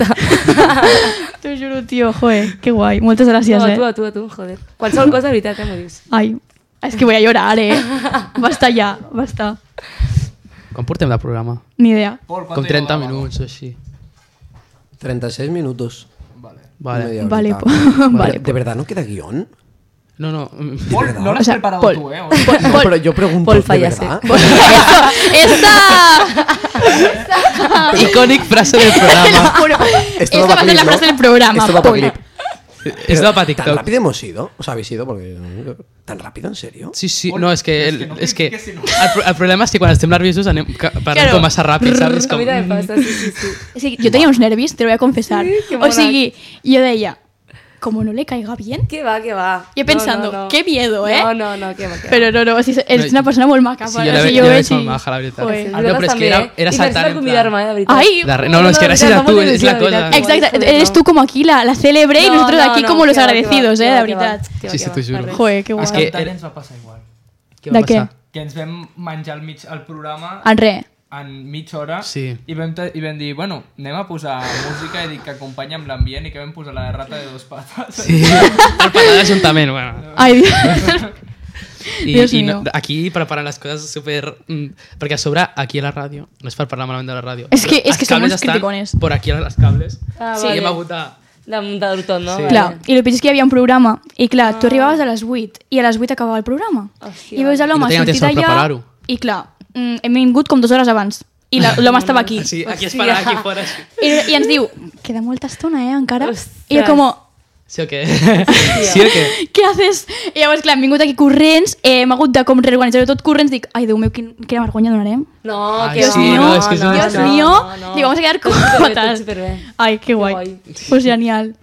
Speaker 2: T'ho juro, tio, joder, que guai. Moltes gràcies,
Speaker 4: No, a tu,
Speaker 2: eh?
Speaker 4: a tu, a tu, joder. Qualsevol cosa, de veritat, eh, m'ho dius.
Speaker 2: Ai, és que voy a llorar, eh?
Speaker 4: *laughs*
Speaker 2: Basta ja, basta.
Speaker 3: Com portem de programa?
Speaker 2: Ni
Speaker 4: *laughs*
Speaker 2: idea.
Speaker 1: Pol, ¿cuánto
Speaker 3: Com 30
Speaker 1: llevaba?
Speaker 3: minuts o així.
Speaker 5: 36 minutos.
Speaker 1: Vale.
Speaker 3: Vale.
Speaker 5: Media
Speaker 2: Vale,
Speaker 5: horita.
Speaker 2: po-
Speaker 5: ¿De,
Speaker 2: vale.
Speaker 5: de verdad no queda guión?
Speaker 3: No, no. mm, *laughs*
Speaker 1: Pol, no lo has
Speaker 2: O sea,
Speaker 1: preparado
Speaker 2: Pol.
Speaker 1: tú, ¿eh?
Speaker 5: *laughs* No, pero yo pregunto,
Speaker 4: Paul
Speaker 5: ¿de
Speaker 4: Fallase.
Speaker 5: verdad?
Speaker 2: ¡Esta!
Speaker 3: Icònic frase del este
Speaker 1: *laughs*
Speaker 3: programa.
Speaker 2: Juro.
Speaker 5: Esto
Speaker 2: Esta
Speaker 5: no va
Speaker 2: va a ser
Speaker 5: clip,
Speaker 2: la
Speaker 5: ¿no?
Speaker 2: frase del programa.
Speaker 5: Esto va para
Speaker 2: Pol.
Speaker 5: clip.
Speaker 3: És de pa
Speaker 5: ¿Tan
Speaker 3: TikTok.
Speaker 5: rápido hemos ido? ¿Os habéis ido? Porque... mm, ¿Tan rápido? ¿En serio?
Speaker 3: Sí, sí,
Speaker 1: Pol,
Speaker 3: no, és que...
Speaker 1: és
Speaker 3: El,
Speaker 1: que no
Speaker 3: és que
Speaker 1: critiques,
Speaker 3: el,
Speaker 1: sinó-
Speaker 3: pro- el problema és que quan estem nerviosos anem ca- parlant
Speaker 2: Claro.
Speaker 3: com massa ràpid, saps?
Speaker 4: A
Speaker 3: Com...
Speaker 4: mi també em passa, sí, sí, sí.
Speaker 2: O sigui, jo tenia uns nervis, te lo voy a confesar.
Speaker 4: Sí, qué
Speaker 2: o
Speaker 4: moral.
Speaker 2: sigui, jo deia, como no le caiga bien,
Speaker 4: Que va, que va.
Speaker 2: Yo pensando, qué miedo, ¿eh?
Speaker 4: No, no, no, que va, que va.
Speaker 2: Pero no, no, sí,
Speaker 3: No,
Speaker 2: és una persona molt maca.
Speaker 3: Sí,
Speaker 2: però, o
Speaker 3: jo la, ve-
Speaker 2: sigui,
Speaker 3: jo la
Speaker 2: veig
Speaker 3: veig molt
Speaker 2: i-
Speaker 3: maja, la veritat.
Speaker 2: Joder.
Speaker 3: Ah, no, però és que era, era saltant.
Speaker 4: I
Speaker 3: en
Speaker 4: per
Speaker 3: plan-
Speaker 4: convidar-me, eh, de veritat.
Speaker 2: Ai,
Speaker 3: de re- no, no, és que
Speaker 4: de
Speaker 3: eres
Speaker 4: veritat,
Speaker 3: la tu,
Speaker 4: molta
Speaker 3: és la
Speaker 4: il·lusió, de
Speaker 3: cosa.
Speaker 4: veritat.
Speaker 2: Exacto,
Speaker 4: Joder,
Speaker 2: eres
Speaker 4: no.
Speaker 2: tú como aquí la, la célebre y
Speaker 4: No,
Speaker 2: nosotros
Speaker 4: no,
Speaker 2: aquí
Speaker 4: no,
Speaker 2: como los
Speaker 4: que va, que va,
Speaker 2: agradecidos,
Speaker 4: que
Speaker 2: eh,
Speaker 4: va,
Speaker 2: la
Speaker 4: que va,
Speaker 2: verdad.
Speaker 4: que va,
Speaker 3: Sí,
Speaker 4: que
Speaker 3: sí,
Speaker 4: va,
Speaker 3: t'ho juro.
Speaker 4: res.
Speaker 2: Joder, qué guay.
Speaker 3: És que
Speaker 1: Tant
Speaker 3: era-
Speaker 1: ens va passar igual.
Speaker 3: "Mm, Què va
Speaker 2: De què?
Speaker 3: passar?
Speaker 1: Que ens vam menjar al mig el programa
Speaker 2: André,
Speaker 1: en mitja hora
Speaker 3: Sí.
Speaker 1: i, vam te- i vam dir, bueno, anem a posar música i dic que acompanya amb l'ambient i que vam posar la de rata de dos patas.
Speaker 3: Sí, *laughs* el parlar d'Ajuntament, bueno.
Speaker 2: ay Dios.
Speaker 3: I,
Speaker 2: Dios
Speaker 3: i
Speaker 2: mío.
Speaker 3: no, aquí preparen les coses super... mm, Perquè a sobre, aquí a la ràdio, no és per parlar malament de la ràdio.
Speaker 2: És que-
Speaker 3: però
Speaker 2: és que
Speaker 3: els
Speaker 2: som
Speaker 3: cables
Speaker 2: uns
Speaker 3: estan
Speaker 2: criticones.
Speaker 3: Per aquí a les cables.
Speaker 4: Ah,
Speaker 3: sí,
Speaker 4: vale.
Speaker 3: hem hagut de...
Speaker 4: De, de tot, no?
Speaker 3: Sí.
Speaker 4: Vale.
Speaker 2: Clar, i el pitjor és que hi havia un programa i clar, tu arribaves a les 8 i a les 8 acabava el programa
Speaker 4: Hòstia.
Speaker 2: i veus a
Speaker 3: I no
Speaker 2: l'home
Speaker 3: tenia temps
Speaker 2: sortit
Speaker 3: per
Speaker 2: allà
Speaker 3: preparar-ho.
Speaker 2: i clar, mm, hem vingut com dues hores abans i la- l'home estava aquí
Speaker 3: Ah, Sí, aquí
Speaker 4: Hòstia.
Speaker 3: es pararà aquí fora. Sí,
Speaker 2: I, i ens diu, queda molta estona eh, encara i jo
Speaker 4: Ostres.
Speaker 2: com,
Speaker 3: sí o
Speaker 2: *laughs*
Speaker 3: què? Sí o què?
Speaker 2: què haces? I llavors clar, hem vingut aquí corrents eh, hem hagut de com reorganitzar tot corrents dic, ai Déu meu, quin, quina vergonya donarem
Speaker 4: No,
Speaker 3: Ai,
Speaker 4: que va.
Speaker 2: Dios mío,
Speaker 3: no, es que es un
Speaker 2: Dios
Speaker 3: no,
Speaker 2: mío, digo, vamos a quedar
Speaker 4: Tot superbé, tot
Speaker 2: cojotas.
Speaker 4: superbé.
Speaker 2: Ay, qué guay.
Speaker 4: guay.
Speaker 2: Pues genial.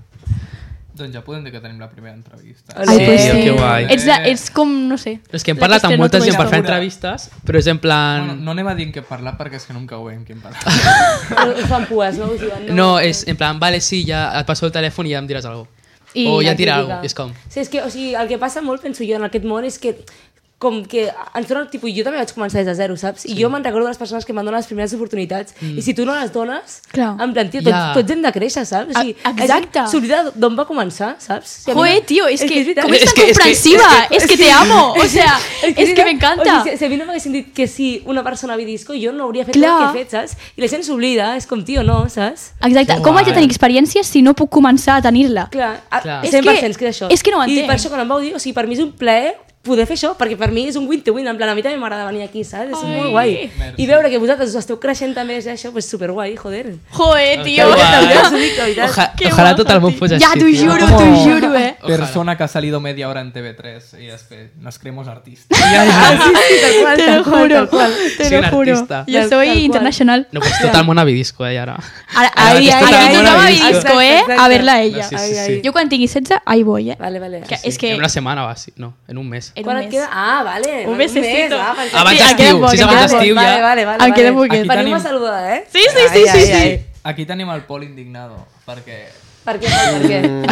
Speaker 1: doncs ja podem dir que tenim la primera entrevista. Eh,
Speaker 4: Ole.
Speaker 2: Ay, pues
Speaker 3: Sí, oh,
Speaker 2: sí.
Speaker 3: qué guay.
Speaker 2: Es, la- es como, no sé.
Speaker 3: Però és que hem
Speaker 2: La
Speaker 3: parlat
Speaker 2: estrenó
Speaker 3: amb molta
Speaker 2: Toy
Speaker 3: gent per
Speaker 2: Story.
Speaker 3: fer entrevistes, però és en
Speaker 1: Bueno,
Speaker 3: plan...
Speaker 1: no anem a dir en què parlar perquè és que no em cau bé en què parlar.
Speaker 4: Però us fan pues, no? Us diuen,
Speaker 3: No, és en plan, vale, sí, ja et passo el telèfon i ja em diràs alguna cosa.
Speaker 2: I
Speaker 3: o
Speaker 2: la
Speaker 3: ja et dirà
Speaker 4: crítica.
Speaker 3: alguna cosa, és com...
Speaker 4: Sí, és que, o sigui, el que passa molt, penso jo, en aquest món és que com que ens donen, tipus, jo també vaig començar des de zero, saps? I jo me'n recordo de les persones que m'han donat les primeres oportunitats, i si tu no les dones,
Speaker 2: Clar.
Speaker 4: en plan, tio, tots,
Speaker 3: Mm. Ja.
Speaker 4: tots hem de créixer, saps? O sigui,
Speaker 2: A- exacte.
Speaker 4: la gent S'oblida d'on va començar, saps? Si a mi
Speaker 2: Joder,
Speaker 4: no-
Speaker 2: tío, es que,
Speaker 4: veritat.
Speaker 2: ¿cómo
Speaker 3: Es
Speaker 2: es tan
Speaker 3: que- es que-
Speaker 2: comprensiva? Es que, te amo. O sea, es que,
Speaker 4: mira,
Speaker 2: me
Speaker 4: O
Speaker 2: encanta.
Speaker 4: sigui, si, si a mi no m'haguessin dit que sí una persona a disco, jo no hauria fet
Speaker 2: Clar.
Speaker 4: el que he fet, saps? I la gent s'oblida, és com, tio, no, saps?
Speaker 2: Exacte.
Speaker 3: Que
Speaker 2: Com vaig a
Speaker 3: guai.
Speaker 2: tenir experiència si no puc començar a tenir-la?
Speaker 4: Clar, a-
Speaker 3: Clar.
Speaker 4: 100%
Speaker 2: És
Speaker 4: que,
Speaker 2: que-
Speaker 4: és això.
Speaker 2: és que no ho
Speaker 4: I
Speaker 2: entenc.
Speaker 4: per això quan em vau dir, o sigui, per mi és un plaer poder fer això, perquè per mi és un win-to-win, en plan, a mi també m'agrada venir aquí, saps? És molt guai. I veure que vosaltres us esteu creixent també, és això, pues superguai, joder.
Speaker 2: Joder,
Speaker 3: Que
Speaker 2: tío.
Speaker 3: guai.
Speaker 4: veritat, us ho dic, la veritat.
Speaker 3: Oja-
Speaker 2: Qué
Speaker 3: ojalà
Speaker 2: guapo,
Speaker 3: tot el món
Speaker 2: tío.
Speaker 3: fos així.
Speaker 2: Ya, t'ho
Speaker 3: tio.
Speaker 2: juro, t'ho juro, eh.
Speaker 3: Ojalá.
Speaker 1: Persona que ha salido media hora en TV3 y después nos creemos artistas.
Speaker 2: Te lo juro,
Speaker 3: Soy
Speaker 2: te
Speaker 3: un
Speaker 2: lo juro.
Speaker 3: artista.
Speaker 2: Yo
Speaker 4: Tal
Speaker 2: soy
Speaker 4: cual.
Speaker 2: internacional.
Speaker 3: No, pues tot el món a Bidisco, eh, ara.
Speaker 2: Ahora-
Speaker 3: Ahora
Speaker 2: Ahí,
Speaker 3: que
Speaker 2: ahí,
Speaker 3: está tan
Speaker 2: ahí
Speaker 3: buena
Speaker 2: tocaba
Speaker 3: la
Speaker 2: mi disco,
Speaker 4: disco.
Speaker 2: eh.
Speaker 4: Exacto,
Speaker 2: A verla a
Speaker 4: exacto.
Speaker 2: ella.
Speaker 3: Sí,
Speaker 4: Ai,
Speaker 3: sí,
Speaker 4: ai.
Speaker 3: sí.
Speaker 2: Yo cuando tenía 16, ahí voy, eh.
Speaker 4: Vale, vale.
Speaker 2: Que- Es
Speaker 3: En
Speaker 2: que...
Speaker 3: una setmana va, sí. No, en un mes.
Speaker 2: era un
Speaker 4: Quan et
Speaker 2: mes.
Speaker 4: queda? Ah, vale.
Speaker 2: Un mesecito.
Speaker 4: va, perfecte.
Speaker 3: Abans
Speaker 2: Sí, em queda
Speaker 3: d'estiu,
Speaker 2: poc,
Speaker 3: si és
Speaker 2: em
Speaker 3: abans
Speaker 2: queda
Speaker 3: d'estiu
Speaker 4: Vale,
Speaker 3: ja...
Speaker 4: vale, vale.
Speaker 2: Em queda
Speaker 4: vale.
Speaker 2: poquet.
Speaker 1: Aquí
Speaker 4: Veniu
Speaker 1: tenim-
Speaker 4: a saludar, eh?
Speaker 2: Sí, sí, sí, sí, sí.
Speaker 1: Aquí tenim el Pol indignado, perquè,
Speaker 4: Per què? Per què?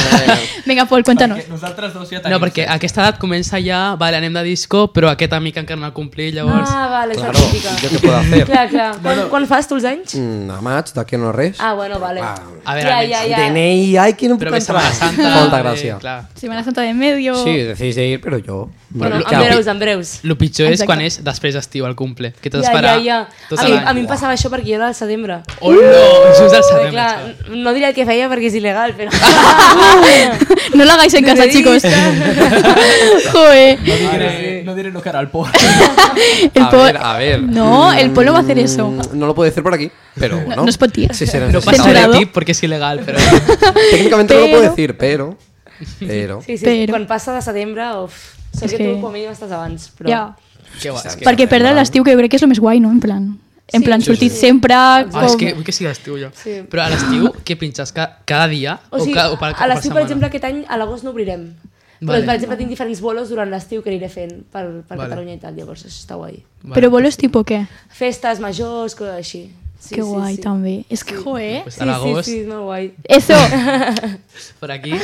Speaker 2: Vinga, Pol, cuéntanos.
Speaker 1: perquè nosaltres dos ja tenim...
Speaker 3: No, perquè a aquesta edat comença ja, vale, anem de disco, però aquest amic encara no el complit, llavors...
Speaker 4: Ah, vale, és la
Speaker 5: Claro,
Speaker 4: típica.
Speaker 5: ¿yo qué puedo hacer?
Speaker 4: Clar, clar. Quan, quan fas tu els anys?
Speaker 5: Mm, a Match, de aquí no res.
Speaker 4: Ah, bueno, vale.
Speaker 5: Ah,
Speaker 3: A veure,
Speaker 4: Ja,
Speaker 3: almenys-
Speaker 4: ja, ja.
Speaker 5: DNI, ay, que no
Speaker 3: Però
Speaker 5: puc
Speaker 3: ve Setmana
Speaker 5: entrar.
Speaker 3: Santa...
Speaker 5: Molta
Speaker 3: eh,
Speaker 5: gràcia.
Speaker 3: clar.
Speaker 2: Semana Santa de en medio.
Speaker 5: Sí, decís de ir, pero yo.
Speaker 4: Bueno,
Speaker 5: Bueno,
Speaker 4: en
Speaker 5: claro.
Speaker 4: breus, en breus.
Speaker 3: Lo pitjor és
Speaker 2: Exacte.
Speaker 3: quan és després d'estiu, al cumple, que t'has
Speaker 4: Ja,
Speaker 3: d'esperar
Speaker 4: ja, ja.
Speaker 3: tot
Speaker 4: A mi, a mi
Speaker 3: l'any.
Speaker 4: em passava això perquè jo era al setembre.
Speaker 3: Oh, no! Just al
Speaker 4: Però,
Speaker 3: setembre,
Speaker 4: clar,
Speaker 3: xaval.
Speaker 4: no diré el que feia perquè és il·legal,
Speaker 3: *laughs*
Speaker 4: però...
Speaker 2: *laughs* No lo hagáis en casa, chicos. *laughs* Joder.
Speaker 1: No diré, eh, no diré lo que hará el Pol. *laughs*
Speaker 2: El
Speaker 5: A
Speaker 2: Pol-
Speaker 5: ver, a ver.
Speaker 2: No, el Pol no va a hacer eso.
Speaker 5: Mm, No lo puedo decir por aquí, pero bueno.
Speaker 2: no es por ti.
Speaker 5: Sí, será
Speaker 3: No
Speaker 5: necesario.
Speaker 3: passa de
Speaker 2: Censurado.
Speaker 3: tip perquè és il·legal,
Speaker 4: *laughs*
Speaker 3: però...
Speaker 5: Técnicamente no lo puedo
Speaker 2: Pero-
Speaker 5: decir, pero. Pero.
Speaker 4: Sí, sí,
Speaker 2: Però-
Speaker 4: quan passa de setembre, uf, sé
Speaker 2: És
Speaker 4: que,
Speaker 2: que-
Speaker 4: tu com a mínim estás abans, però...
Speaker 2: Ja.
Speaker 3: Que guai, és que-
Speaker 2: Perquè perdre l'estiu, que jo crec que és el més guai, no? En plan, en
Speaker 4: Sí.
Speaker 2: plan
Speaker 4: Sí,
Speaker 2: sortit
Speaker 4: sí.
Speaker 2: sempre... Com...
Speaker 3: Ah, és que vull que sigui estiu jo.
Speaker 4: Sí.
Speaker 3: Però a l'estiu, què pinxes? Ca cada dia?
Speaker 4: O sigui,
Speaker 3: ca- per-
Speaker 4: a l'estiu,
Speaker 3: setmana?
Speaker 4: per exemple, aquest any, a l'agost no obrirem. Però,
Speaker 3: Vale.
Speaker 4: per exemple, tinc diferents bolos durant l'estiu que aniré fent per, per
Speaker 3: Vale.
Speaker 4: Catalunya i tal, llavors això està guai.
Speaker 3: Vale.
Speaker 2: Però bolos tipus què?
Speaker 4: Festes, majors, coses així. Sí,
Speaker 2: que guai,
Speaker 4: sí, sí.
Speaker 2: també. És que, joder...
Speaker 3: Pues
Speaker 4: Sí,
Speaker 3: a l'agost,
Speaker 4: sí, sí, és molt guai.
Speaker 2: Eso,
Speaker 3: per
Speaker 4: *laughs*
Speaker 3: aquí.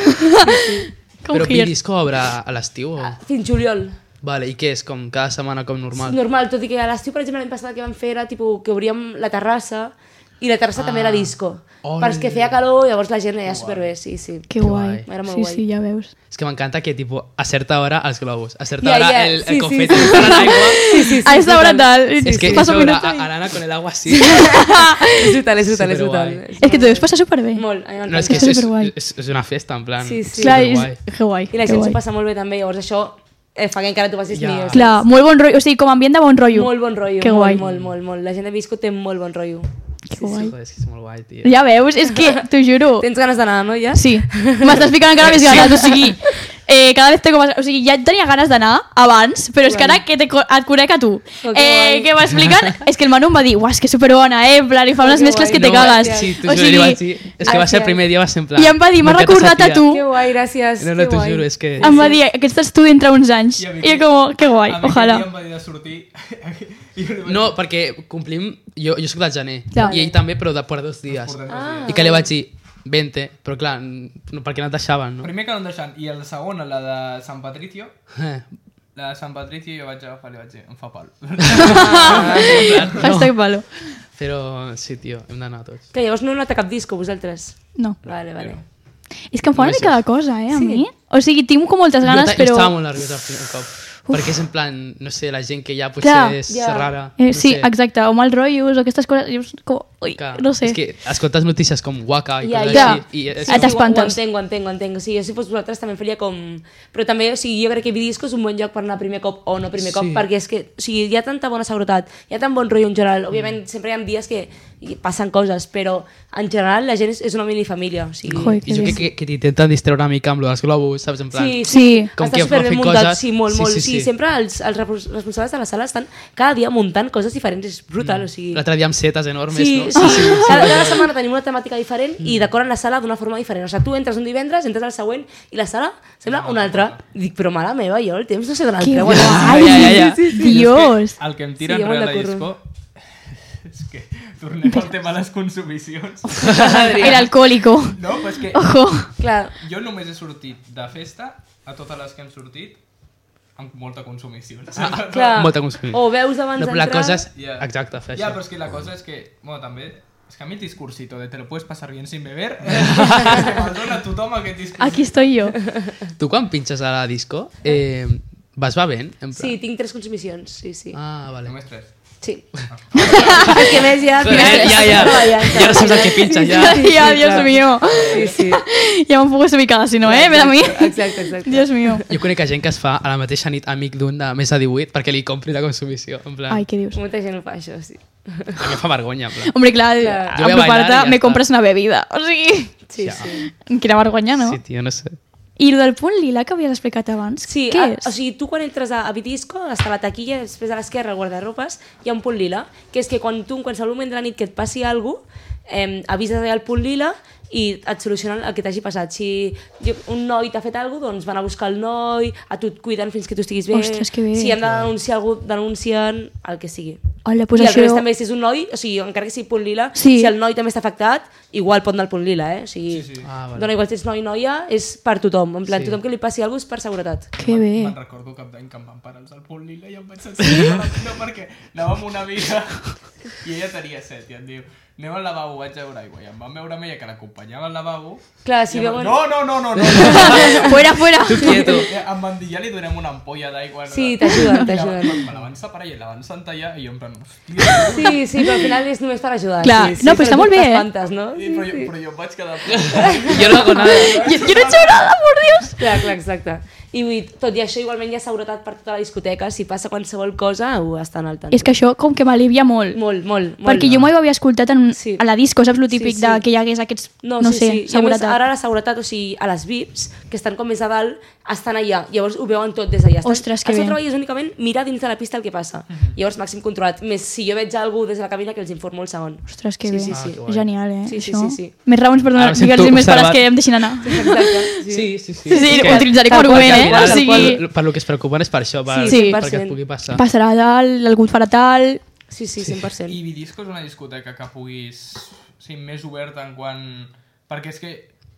Speaker 2: com
Speaker 3: Però
Speaker 2: Hitler.
Speaker 3: Virisco obre a l'estiu? O...
Speaker 4: Fins juliol.
Speaker 3: Vale, i què és? Com cada setmana com normal?
Speaker 4: Normal, tot i que a l'estiu, per exemple, l'any passat que vam fer era tipo, que obríem la terrassa i la terrassa també era disco.
Speaker 3: Oh,
Speaker 4: perquè feia calor, llavors la gent era superbé, sí, sí.
Speaker 2: Que guai.
Speaker 4: Era molt
Speaker 2: Sí,
Speaker 4: guai.
Speaker 2: sí, ja veus.
Speaker 3: És que m'encanta que, tipo, a certa hora els globus, a certa
Speaker 4: Ja,
Speaker 3: hora
Speaker 4: ja,
Speaker 3: Tota el,
Speaker 4: sí,
Speaker 3: el
Speaker 4: sí,
Speaker 3: confeti, tota
Speaker 4: sí.
Speaker 3: a l'aigua...
Speaker 4: *laughs* Sí, sí, sí,
Speaker 2: A esta hora
Speaker 4: total.
Speaker 2: Ah, tal.
Speaker 3: és que
Speaker 2: Pasa
Speaker 3: eso,
Speaker 2: un
Speaker 3: era
Speaker 2: minuto
Speaker 3: a,
Speaker 2: y-
Speaker 3: a l'Anna con el agua así.
Speaker 4: *laughs* És brutal, és brutal, és
Speaker 3: Superguai.
Speaker 4: brutal.
Speaker 2: És que t'ho deus passar superbé.
Speaker 4: Molt, a mi *laughs*
Speaker 3: No, és
Speaker 4: m'encanta.
Speaker 3: que és, és,
Speaker 2: Superguai.
Speaker 3: és, és una festa, en plan...
Speaker 4: Sí, sí.
Speaker 2: Clar,
Speaker 3: superguai.
Speaker 2: és... Que guai.
Speaker 4: I la
Speaker 2: que
Speaker 4: gent s'ho
Speaker 2: guai.
Speaker 4: passa molt bé també, llavors això eh, fa que encara t'ho passis
Speaker 3: Ja.
Speaker 4: millor. saps?
Speaker 2: Clar, molt bon rotllo, o sigui, com ambient de bon rotllo.
Speaker 4: Molt bon rotllo,
Speaker 2: Que
Speaker 4: molt,
Speaker 2: guai.
Speaker 4: molt, molt, molt. La gent de Visco té molt bon rotllo.
Speaker 2: Que guai.
Speaker 3: Joder, és que és molt guai, tio.
Speaker 2: Ja veus, és
Speaker 4: *laughs*
Speaker 2: que t'ho juro.
Speaker 4: Tens ganes d'anar, no, ja?
Speaker 2: Sí, m'estàs ficant encara més ganes, o sigui, eh, cada vez tengo más... O sigui, ja tenia ganes d'anar abans, però és que ara que te, co- et conec a tu,
Speaker 4: Oh, que
Speaker 2: eh,
Speaker 4: guai.
Speaker 2: que
Speaker 4: *laughs*
Speaker 2: m'expliquen, és que el Manu em va dir, uah, és que superbona, eh, en plan, i fa unes
Speaker 4: Oh, que
Speaker 2: mescles
Speaker 4: guai.
Speaker 2: que te
Speaker 4: No,
Speaker 2: cagues.
Speaker 3: Sí, t'ho
Speaker 2: O
Speaker 3: juro, jo vaig
Speaker 2: sigui,
Speaker 3: dir... És que va ser el
Speaker 4: Gràcies.
Speaker 3: primer dia, va ser en plan...
Speaker 2: I em va dir, "M'ha
Speaker 3: "Moqueta
Speaker 2: recordat a
Speaker 3: satira".
Speaker 2: tu.
Speaker 4: Que guai, gràcies.
Speaker 3: No, no,
Speaker 4: que
Speaker 3: t'ho
Speaker 4: guai.
Speaker 3: juro, és que...
Speaker 2: em va dir, aquest és tu d'entre uns anys.
Speaker 1: I a mi
Speaker 2: I
Speaker 1: que-
Speaker 2: jo com, que guai,
Speaker 1: A mi
Speaker 2: ojalà.
Speaker 1: aquell dia em va dir de sortir... *laughs* I jo li vaig
Speaker 3: No, perquè complim... Jo, jo soc del gener,
Speaker 2: Clar.
Speaker 3: i ell també, però de per dos dies.
Speaker 1: portar dos
Speaker 4: Ah.
Speaker 1: dies.
Speaker 3: I que li vaig dir, vente, però clar, no, perquè no et deixaven, no?
Speaker 1: Primer que no em deixant, i la segona, la de Sant Patricio,
Speaker 3: Eh,
Speaker 1: la de Sant Patricio jo vaig agafar, li vaig dir, em fa pal.
Speaker 3: "Ah,
Speaker 2: *laughs* Hashtag palo.
Speaker 3: però sí, tio, hem d'anar tots.
Speaker 4: Que llavors no heu anat a cap disco, vosaltres.
Speaker 2: No.
Speaker 4: Vale, vale.
Speaker 2: És que em fa una
Speaker 3: Gràcies.
Speaker 2: mica de cosa, eh, a
Speaker 4: Sí.
Speaker 2: mi. O sigui, tinc com moltes
Speaker 3: Jo,
Speaker 2: ganes,
Speaker 3: ta- jo
Speaker 2: però...
Speaker 3: estava molt nerviosa el primer cop, perquè és en plan, no sé, la gent que ja potser
Speaker 2: Clar,
Speaker 3: és
Speaker 4: ja.
Speaker 3: rara.
Speaker 2: Eh,
Speaker 3: no
Speaker 2: sí,
Speaker 3: sé.
Speaker 2: exacte, o mal rotllos, o aquestes coses... Llavors, com, ui,
Speaker 3: Que,
Speaker 2: no sé.
Speaker 3: És que escoltes notícies com Waka i
Speaker 4: Ja,
Speaker 3: coses
Speaker 2: ja.
Speaker 3: així. I és,
Speaker 2: Ah, t'has-
Speaker 3: com-
Speaker 2: t'espantes.
Speaker 4: Ho entenc, ho entenc, ho entenc. O sigui, jo si fos vosaltres també faria com... Però també, o sigui, jo crec que Vidisco és un bon lloc per anar primer cop o no primer cop,
Speaker 3: Sí.
Speaker 4: perquè és que, o sigui, hi ha tanta bona seguretat, hi ha tan bon rotllo en general. Òbviament, sempre hi ha dies que hi passen coses, però en general la gent és, és una minifamília. O sigui,
Speaker 2: Joder,
Speaker 3: I jo crec que, que t'intenten distreure una mica amb lo dels globus, saps? En plan,
Speaker 4: Sí,
Speaker 2: Sí.
Speaker 4: sí.
Speaker 3: Com
Speaker 4: està
Speaker 3: que
Speaker 4: superben
Speaker 3: fan
Speaker 4: muntat,
Speaker 3: coses-
Speaker 4: sí, molt,
Speaker 3: sí,
Speaker 4: molt.
Speaker 3: sí,
Speaker 4: Sí, sí,
Speaker 3: sí.
Speaker 4: sempre els, els repos- responsables de la sala estan cada dia muntant coses diferents, és
Speaker 3: Mm.
Speaker 4: brutal, o sigui...
Speaker 3: l'altre dia amb setes enormes,
Speaker 4: Sí,
Speaker 3: no?
Speaker 4: sí,
Speaker 3: *laughs*
Speaker 4: sí, cada, cada setmana tenim una temàtica diferent i decoren la sala d'una forma diferent. O sigui, tu entres un divendres, entres al següent i la sala sembla una altra. Dic, però mare meva, jo el temps no sé d'on el
Speaker 2: Que
Speaker 4: treu.
Speaker 2: guai, *laughs*
Speaker 3: Ja, ja, ja.
Speaker 1: *laughs*
Speaker 2: Dios.
Speaker 1: El que em tira
Speaker 4: Sí,
Speaker 1: sí,
Speaker 4: jo me'n
Speaker 1: enrere la disco...
Speaker 4: recordo.
Speaker 1: *laughs* És que tornem al tema de les consumicions.
Speaker 2: El
Speaker 4: *laughs*
Speaker 2: alcohólico.
Speaker 1: No, però és que
Speaker 2: Ojo.
Speaker 4: Clar,
Speaker 1: jo només he sortit de festa a totes les que hem sortit amb molta consumició.
Speaker 4: clar.
Speaker 3: Molta consumició.
Speaker 4: O veus abans
Speaker 3: No, però la
Speaker 4: d'entrar...
Speaker 3: cosa és...
Speaker 1: Ja.
Speaker 3: Exacte, fer
Speaker 1: Ya,
Speaker 3: això.
Speaker 1: pero es que la cosa es que, bueno, también, es que a mí el discursito de te lo puedes pasar bien sin beber, perdona, tú toma que discursito.
Speaker 2: Aquí estoy yo.
Speaker 3: Tu quan pinxes a la disco, eh, vas bevent? En plan...
Speaker 4: Sí, tinc tres consumicions, sí, sí.
Speaker 3: Ah, vale.
Speaker 1: No me estreses.
Speaker 4: Sí. *laughs* És que a més ja...
Speaker 3: Eh, ja, ja. Ja no saps el que pinxes, ja.
Speaker 2: Ay, ah, Dios
Speaker 4: claro.
Speaker 2: mío.
Speaker 4: Sí, sí.
Speaker 2: Ya un poco se ubicada, si no, ¿eh? Ven a mí.
Speaker 4: Exacte, exacte.
Speaker 2: Dios mío.
Speaker 3: Jo conec a gent que es fa a la mateixa nit amic d'un de més de 18 perquè li compri la consumició. En plan,
Speaker 2: Ay, qué Dios.
Speaker 4: Molta gent ho fa, això, sí.
Speaker 3: a mi em fa vergonya. En plan.
Speaker 2: Hombre, claro,
Speaker 4: Claro.
Speaker 3: Yo voy
Speaker 2: apro
Speaker 3: a bailar y
Speaker 2: parta,
Speaker 3: ya
Speaker 2: me
Speaker 3: está.
Speaker 2: compras una bebida. O sigui,
Speaker 4: Sí,
Speaker 3: Ja.
Speaker 4: sí.
Speaker 2: que la vergonya, no?
Speaker 3: Sí, tio, no sé.
Speaker 2: I el del punt lila que havies explicat abans,
Speaker 4: Sí,
Speaker 2: què
Speaker 4: a,
Speaker 2: és?
Speaker 4: o sigui, tu quan entres a, a Bitisco, està la taquilla, després a l'esquerra, al guardarropes, hi ha un punt lila, que és que quan tu, en qualsevol moment de la nit que et passi alguna cosa, eh, avises allà al punt lila i et solucionen el que t'hagi passat. Si jo- un noi t'ha fet alguna cosa, doncs van a buscar el noi, a tu et cuiden fins que tu estiguis bé.
Speaker 2: Ostres, que bé.
Speaker 4: Si han de denunciar algú, denuncien el que sigui.
Speaker 2: Hola, pues
Speaker 4: I al
Speaker 2: això...
Speaker 4: revés també, si és un noi, o sigui, encara que sigui punt lila,
Speaker 2: Sí.
Speaker 4: si el noi també està afectat, igual pot anar al punt lila, eh? O sigui,
Speaker 1: Sí, sí.
Speaker 3: Ah, vale.
Speaker 4: dona igual si ets noi o noia, és per tothom. En plan,
Speaker 3: Sí.
Speaker 4: sí. tothom que li passi alguna cosa és per seguretat.
Speaker 2: Que bé.
Speaker 1: Me'n recordo cap d'any que em van parar els del Pol Lila i em vaig sentir no, perquè anava amb una amiga i ella tenia set i em diu anem al lavabo, vaig a veure aigua i em van veure amb ella que l'acompanyava al lavabo
Speaker 4: Clar, si
Speaker 1: i em van-
Speaker 4: veuen-
Speaker 1: no, no, no, no, no, no.
Speaker 2: *laughs* fuera, fuera.
Speaker 1: *laughs*
Speaker 3: Quieto.
Speaker 1: em van dir ja li donem una ampolla d'aigua
Speaker 4: Sí, t'ajuden,
Speaker 1: I la-
Speaker 4: t'ajuden.
Speaker 1: me la van separar i la van sentallar i jo en plan hòstia,
Speaker 4: Sí, sí, però al final és només per ajudar.
Speaker 2: Clar.
Speaker 4: sí, sí,
Speaker 2: No, però està
Speaker 4: tu
Speaker 2: molt bé, eh?
Speaker 4: t'espantes, no?
Speaker 1: I- però, jo, però jo em vaig quedar
Speaker 2: *laughs*
Speaker 4: *laughs*
Speaker 3: Jo no hago nada.
Speaker 2: Yo, yo no he hecho nada, por Dios.
Speaker 4: Clar, clar, exacte. I vull dir, tot i això, igualment hi ha seguretat per tota la discoteca. Si passa qualsevol cosa, ho estan al tanto.
Speaker 2: És que això com que m'alivia molt.
Speaker 4: Molt, molt, molt.
Speaker 2: Perquè jo mai ho havia escoltat en,
Speaker 4: Sí.
Speaker 2: a la disco, saps? Lo
Speaker 4: Sí,
Speaker 2: típic
Speaker 4: sí.
Speaker 2: de que hi hagués aquests, no,
Speaker 4: sí,
Speaker 2: sé,
Speaker 4: sí. I a més,
Speaker 2: seguretat.
Speaker 4: ara la seguretat, o sigui, a les VIPs, que estan com més a dalt, estan allà. Llavors ho veuen tot des d'allà. Estan-
Speaker 2: Ostres, que
Speaker 4: El seu
Speaker 2: bé.
Speaker 4: treball és únicament mirar dins de la pista el que passa. Llavors, màxim controlat. Més, si jo veig algú des de la cabina, que els informo el segon.
Speaker 2: Ostres, que
Speaker 4: sí,
Speaker 2: bé.
Speaker 4: Sí, sí,
Speaker 3: Ah,
Speaker 4: sí.
Speaker 3: guai.
Speaker 2: Genial, eh?
Speaker 4: Sí, sí,
Speaker 2: això.
Speaker 4: sí, sí.
Speaker 2: Més raons per
Speaker 3: Ara
Speaker 2: donar,
Speaker 3: em sento
Speaker 2: digue'ls als meus pares
Speaker 3: observat.
Speaker 2: que em deixin anar.
Speaker 4: Exacte, sí.
Speaker 3: Sí, sí, sí.
Speaker 2: Sí, sí, ho utilitzaré com a
Speaker 3: Tal qual,
Speaker 2: argument,
Speaker 3: tal
Speaker 2: eh?
Speaker 3: qual,
Speaker 2: O
Speaker 3: tal
Speaker 2: sigui-
Speaker 3: qual, Per lo que es preocupen és per això, per,
Speaker 4: Sí, sí,
Speaker 3: perquè
Speaker 4: 100%.
Speaker 3: et pugui passar.
Speaker 2: Passarà dalt, algú et farà tal...
Speaker 4: Sí, sí, 100%.
Speaker 1: I Vidisco és una discoteca que puguis... O sigui, més oberta en quan... Perquè és que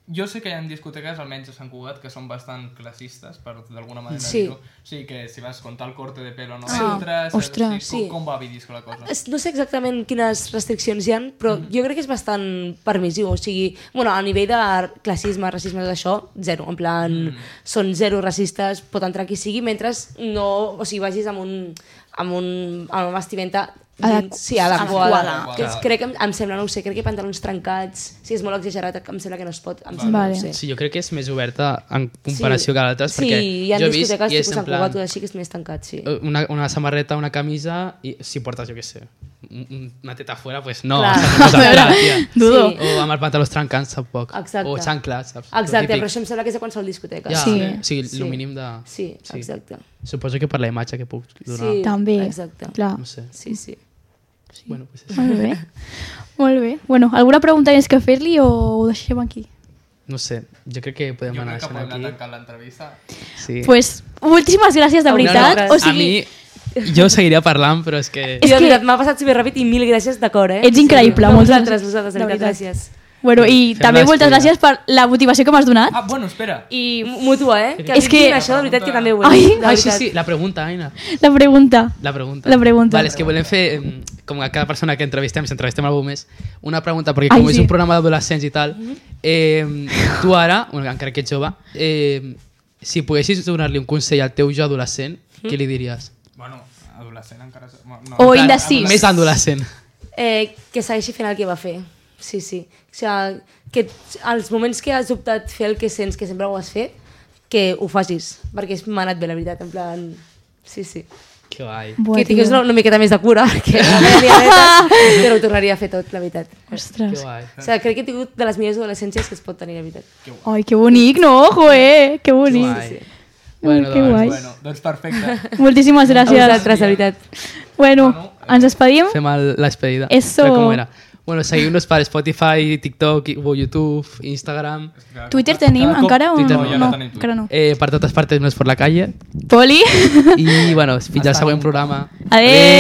Speaker 1: jo sé que hi ha discoteques, almenys a Sant Cugat, que són bastant classistes, per d'alguna manera
Speaker 4: Sí. Ah,
Speaker 1: dir-ho. O sigui, que si vas con tal corte de pelo no
Speaker 2: Sí.
Speaker 1: entres...
Speaker 2: Ostres.
Speaker 1: saps? O sigui,
Speaker 4: Sí.
Speaker 1: com, com va Vidisco la cosa?
Speaker 4: Es- No sé exactament quines restriccions hi han, però
Speaker 3: Mm.
Speaker 4: jo crec que és bastant permissiu. O sigui, bueno, a nivell de classisme, racisme, tot això, zero. En plan,
Speaker 3: Mm.
Speaker 4: són zero racistes, pot entrar qui sigui, mentre no o sigui, vagis amb un, amb un amb una vestimenta
Speaker 2: Adequ-
Speaker 4: sí, adequada.
Speaker 1: Adequada.
Speaker 4: Que és- crec que, em- em sembla, no ho sé, crec que pantalons trencats, si és molt exagerat, em sembla que no es pot. Em sembla,
Speaker 2: Vale.
Speaker 4: no ho sé.
Speaker 3: Sí, jo crec que és més oberta en comparació que altres,
Speaker 4: sí,
Speaker 3: perquè
Speaker 4: hi ha
Speaker 3: jo he vist
Speaker 4: discoteques
Speaker 3: i és
Speaker 4: tipus
Speaker 3: en
Speaker 4: Sant Cugat,
Speaker 3: plan, eh,
Speaker 4: o així que és més tancat, sí.
Speaker 3: una, una samarreta, una camisa, i si portes, jo què sé, un- un- una teta fuera, pues no,
Speaker 4: Clar.
Speaker 3: no s'ha
Speaker 4: *laughs*
Speaker 3: entrat, tia.
Speaker 2: Dudo.
Speaker 4: Sí.
Speaker 3: O amb els pantalons trencants, tampoc.
Speaker 4: Exacte.
Speaker 3: O xancles, saps? Lo
Speaker 4: Exacte,
Speaker 3: típic.
Speaker 4: però això em sembla que és a qualsevol discoteca.
Speaker 3: Ja,
Speaker 2: Sí.
Speaker 3: sí. O sigui, el
Speaker 4: Sí.
Speaker 3: mínim de...
Speaker 4: Sí, exacte.
Speaker 3: Suposo que per la imatge que puc donar.
Speaker 4: Sí.
Speaker 2: També.
Speaker 4: exacte.
Speaker 2: Clar.
Speaker 3: No sé.
Speaker 4: Sí, sí.
Speaker 3: Sí. Bueno, pues és...
Speaker 2: Molt bé. Molt bé. Bueno, alguna pregunta més que fer-li o ho deixem aquí?
Speaker 3: No sé, jo crec que podem
Speaker 1: Jo
Speaker 3: anar
Speaker 1: crec que
Speaker 3: deixant
Speaker 1: podem anar
Speaker 3: aquí.
Speaker 1: tancant l'entrevista.
Speaker 3: Sí.
Speaker 2: Doncs pues, moltíssimes gràcies, de
Speaker 4: A
Speaker 2: veritat.
Speaker 4: vosaltres.
Speaker 2: O sigui,
Speaker 3: A mi, jo seguiria parlant, però és que...
Speaker 4: És
Speaker 2: És
Speaker 4: jo,
Speaker 2: que-
Speaker 4: que... m'ha passat superràpid i mil gràcies de cor, eh?
Speaker 2: Ets increïble,
Speaker 4: no,
Speaker 2: moltes
Speaker 4: vosaltres,
Speaker 2: gràcies.
Speaker 4: vosaltres, de
Speaker 2: De
Speaker 4: veritat,
Speaker 2: veritat.
Speaker 4: gràcies.
Speaker 2: bueno, i
Speaker 3: Fem
Speaker 2: també
Speaker 3: la
Speaker 2: moltes
Speaker 3: espera.
Speaker 2: gràcies per la motivació que m'has donat.
Speaker 1: Ah, bueno, espera.
Speaker 4: I mútua, eh? Que
Speaker 2: És
Speaker 4: és que...
Speaker 2: que-
Speaker 4: això, de veritat, que també ho és.
Speaker 2: Ai.
Speaker 4: de
Speaker 3: Ah, sí,
Speaker 4: veritat.
Speaker 3: sí, la pregunta, Aina.
Speaker 2: La pregunta.
Speaker 3: La pregunta.
Speaker 2: La pregunta.
Speaker 3: Vale, és que volem fer, em, com a cada persona que entrevistem, si entrevistem algú més, una pregunta, perquè
Speaker 2: Ai,
Speaker 3: com és
Speaker 2: sí.
Speaker 3: un programa d'adolescents i tal, eh, tu ara, bueno, encara que ets jove, eh, si poguessis donar-li un consell al teu jo adolescent, què li diries?
Speaker 1: Bueno, adolescent encara... és- bueno, No,
Speaker 2: O
Speaker 1: encara-
Speaker 2: indecís.
Speaker 3: Més adolescent.
Speaker 4: Eh, que segueixi fent el que va fer. Sí, sí. O sigui, que els moments que has optat fer el que sents que sempre ho has fet, que ho facis, perquè és m'ha anat bé, la veritat, en plan... Sí, sí.
Speaker 3: Que guai.
Speaker 2: Buah,
Speaker 4: que tingués
Speaker 2: tio.
Speaker 4: una, una miqueta més de cura, *laughs* que la meva diabetes, però ho tornaria a fer tot, la veritat.
Speaker 3: Que
Speaker 2: Ostres.
Speaker 3: guai.
Speaker 4: O sigui, crec que he tingut de les millors adolescències que es pot tenir, la veritat.
Speaker 2: Ai, que bonic, no? Joé, que
Speaker 3: Que
Speaker 2: bonic.
Speaker 3: guai.
Speaker 2: Bueno, que guai.
Speaker 1: Bueno, doncs perfecte.
Speaker 2: Moltíssimes
Speaker 4: A
Speaker 2: gràcies.
Speaker 4: vosaltres, la veritat.
Speaker 2: Bueno,
Speaker 1: Manu,
Speaker 2: ens despedim.
Speaker 3: Fem el, la despedida.
Speaker 2: Eso.
Speaker 3: Però com era? Bueno, seguiu-nos per Spotify, TikTok, i- o YouTube, Instagram,
Speaker 2: Twitter tenim
Speaker 1: Cada cop-
Speaker 2: encara o
Speaker 3: Twitter
Speaker 2: no?
Speaker 3: no, ja
Speaker 1: no tenim
Speaker 2: encara no.
Speaker 3: eh, per totes partes, més per la calle.
Speaker 2: Poli.
Speaker 3: I, bueno, fins al següent programa.
Speaker 2: Adéu.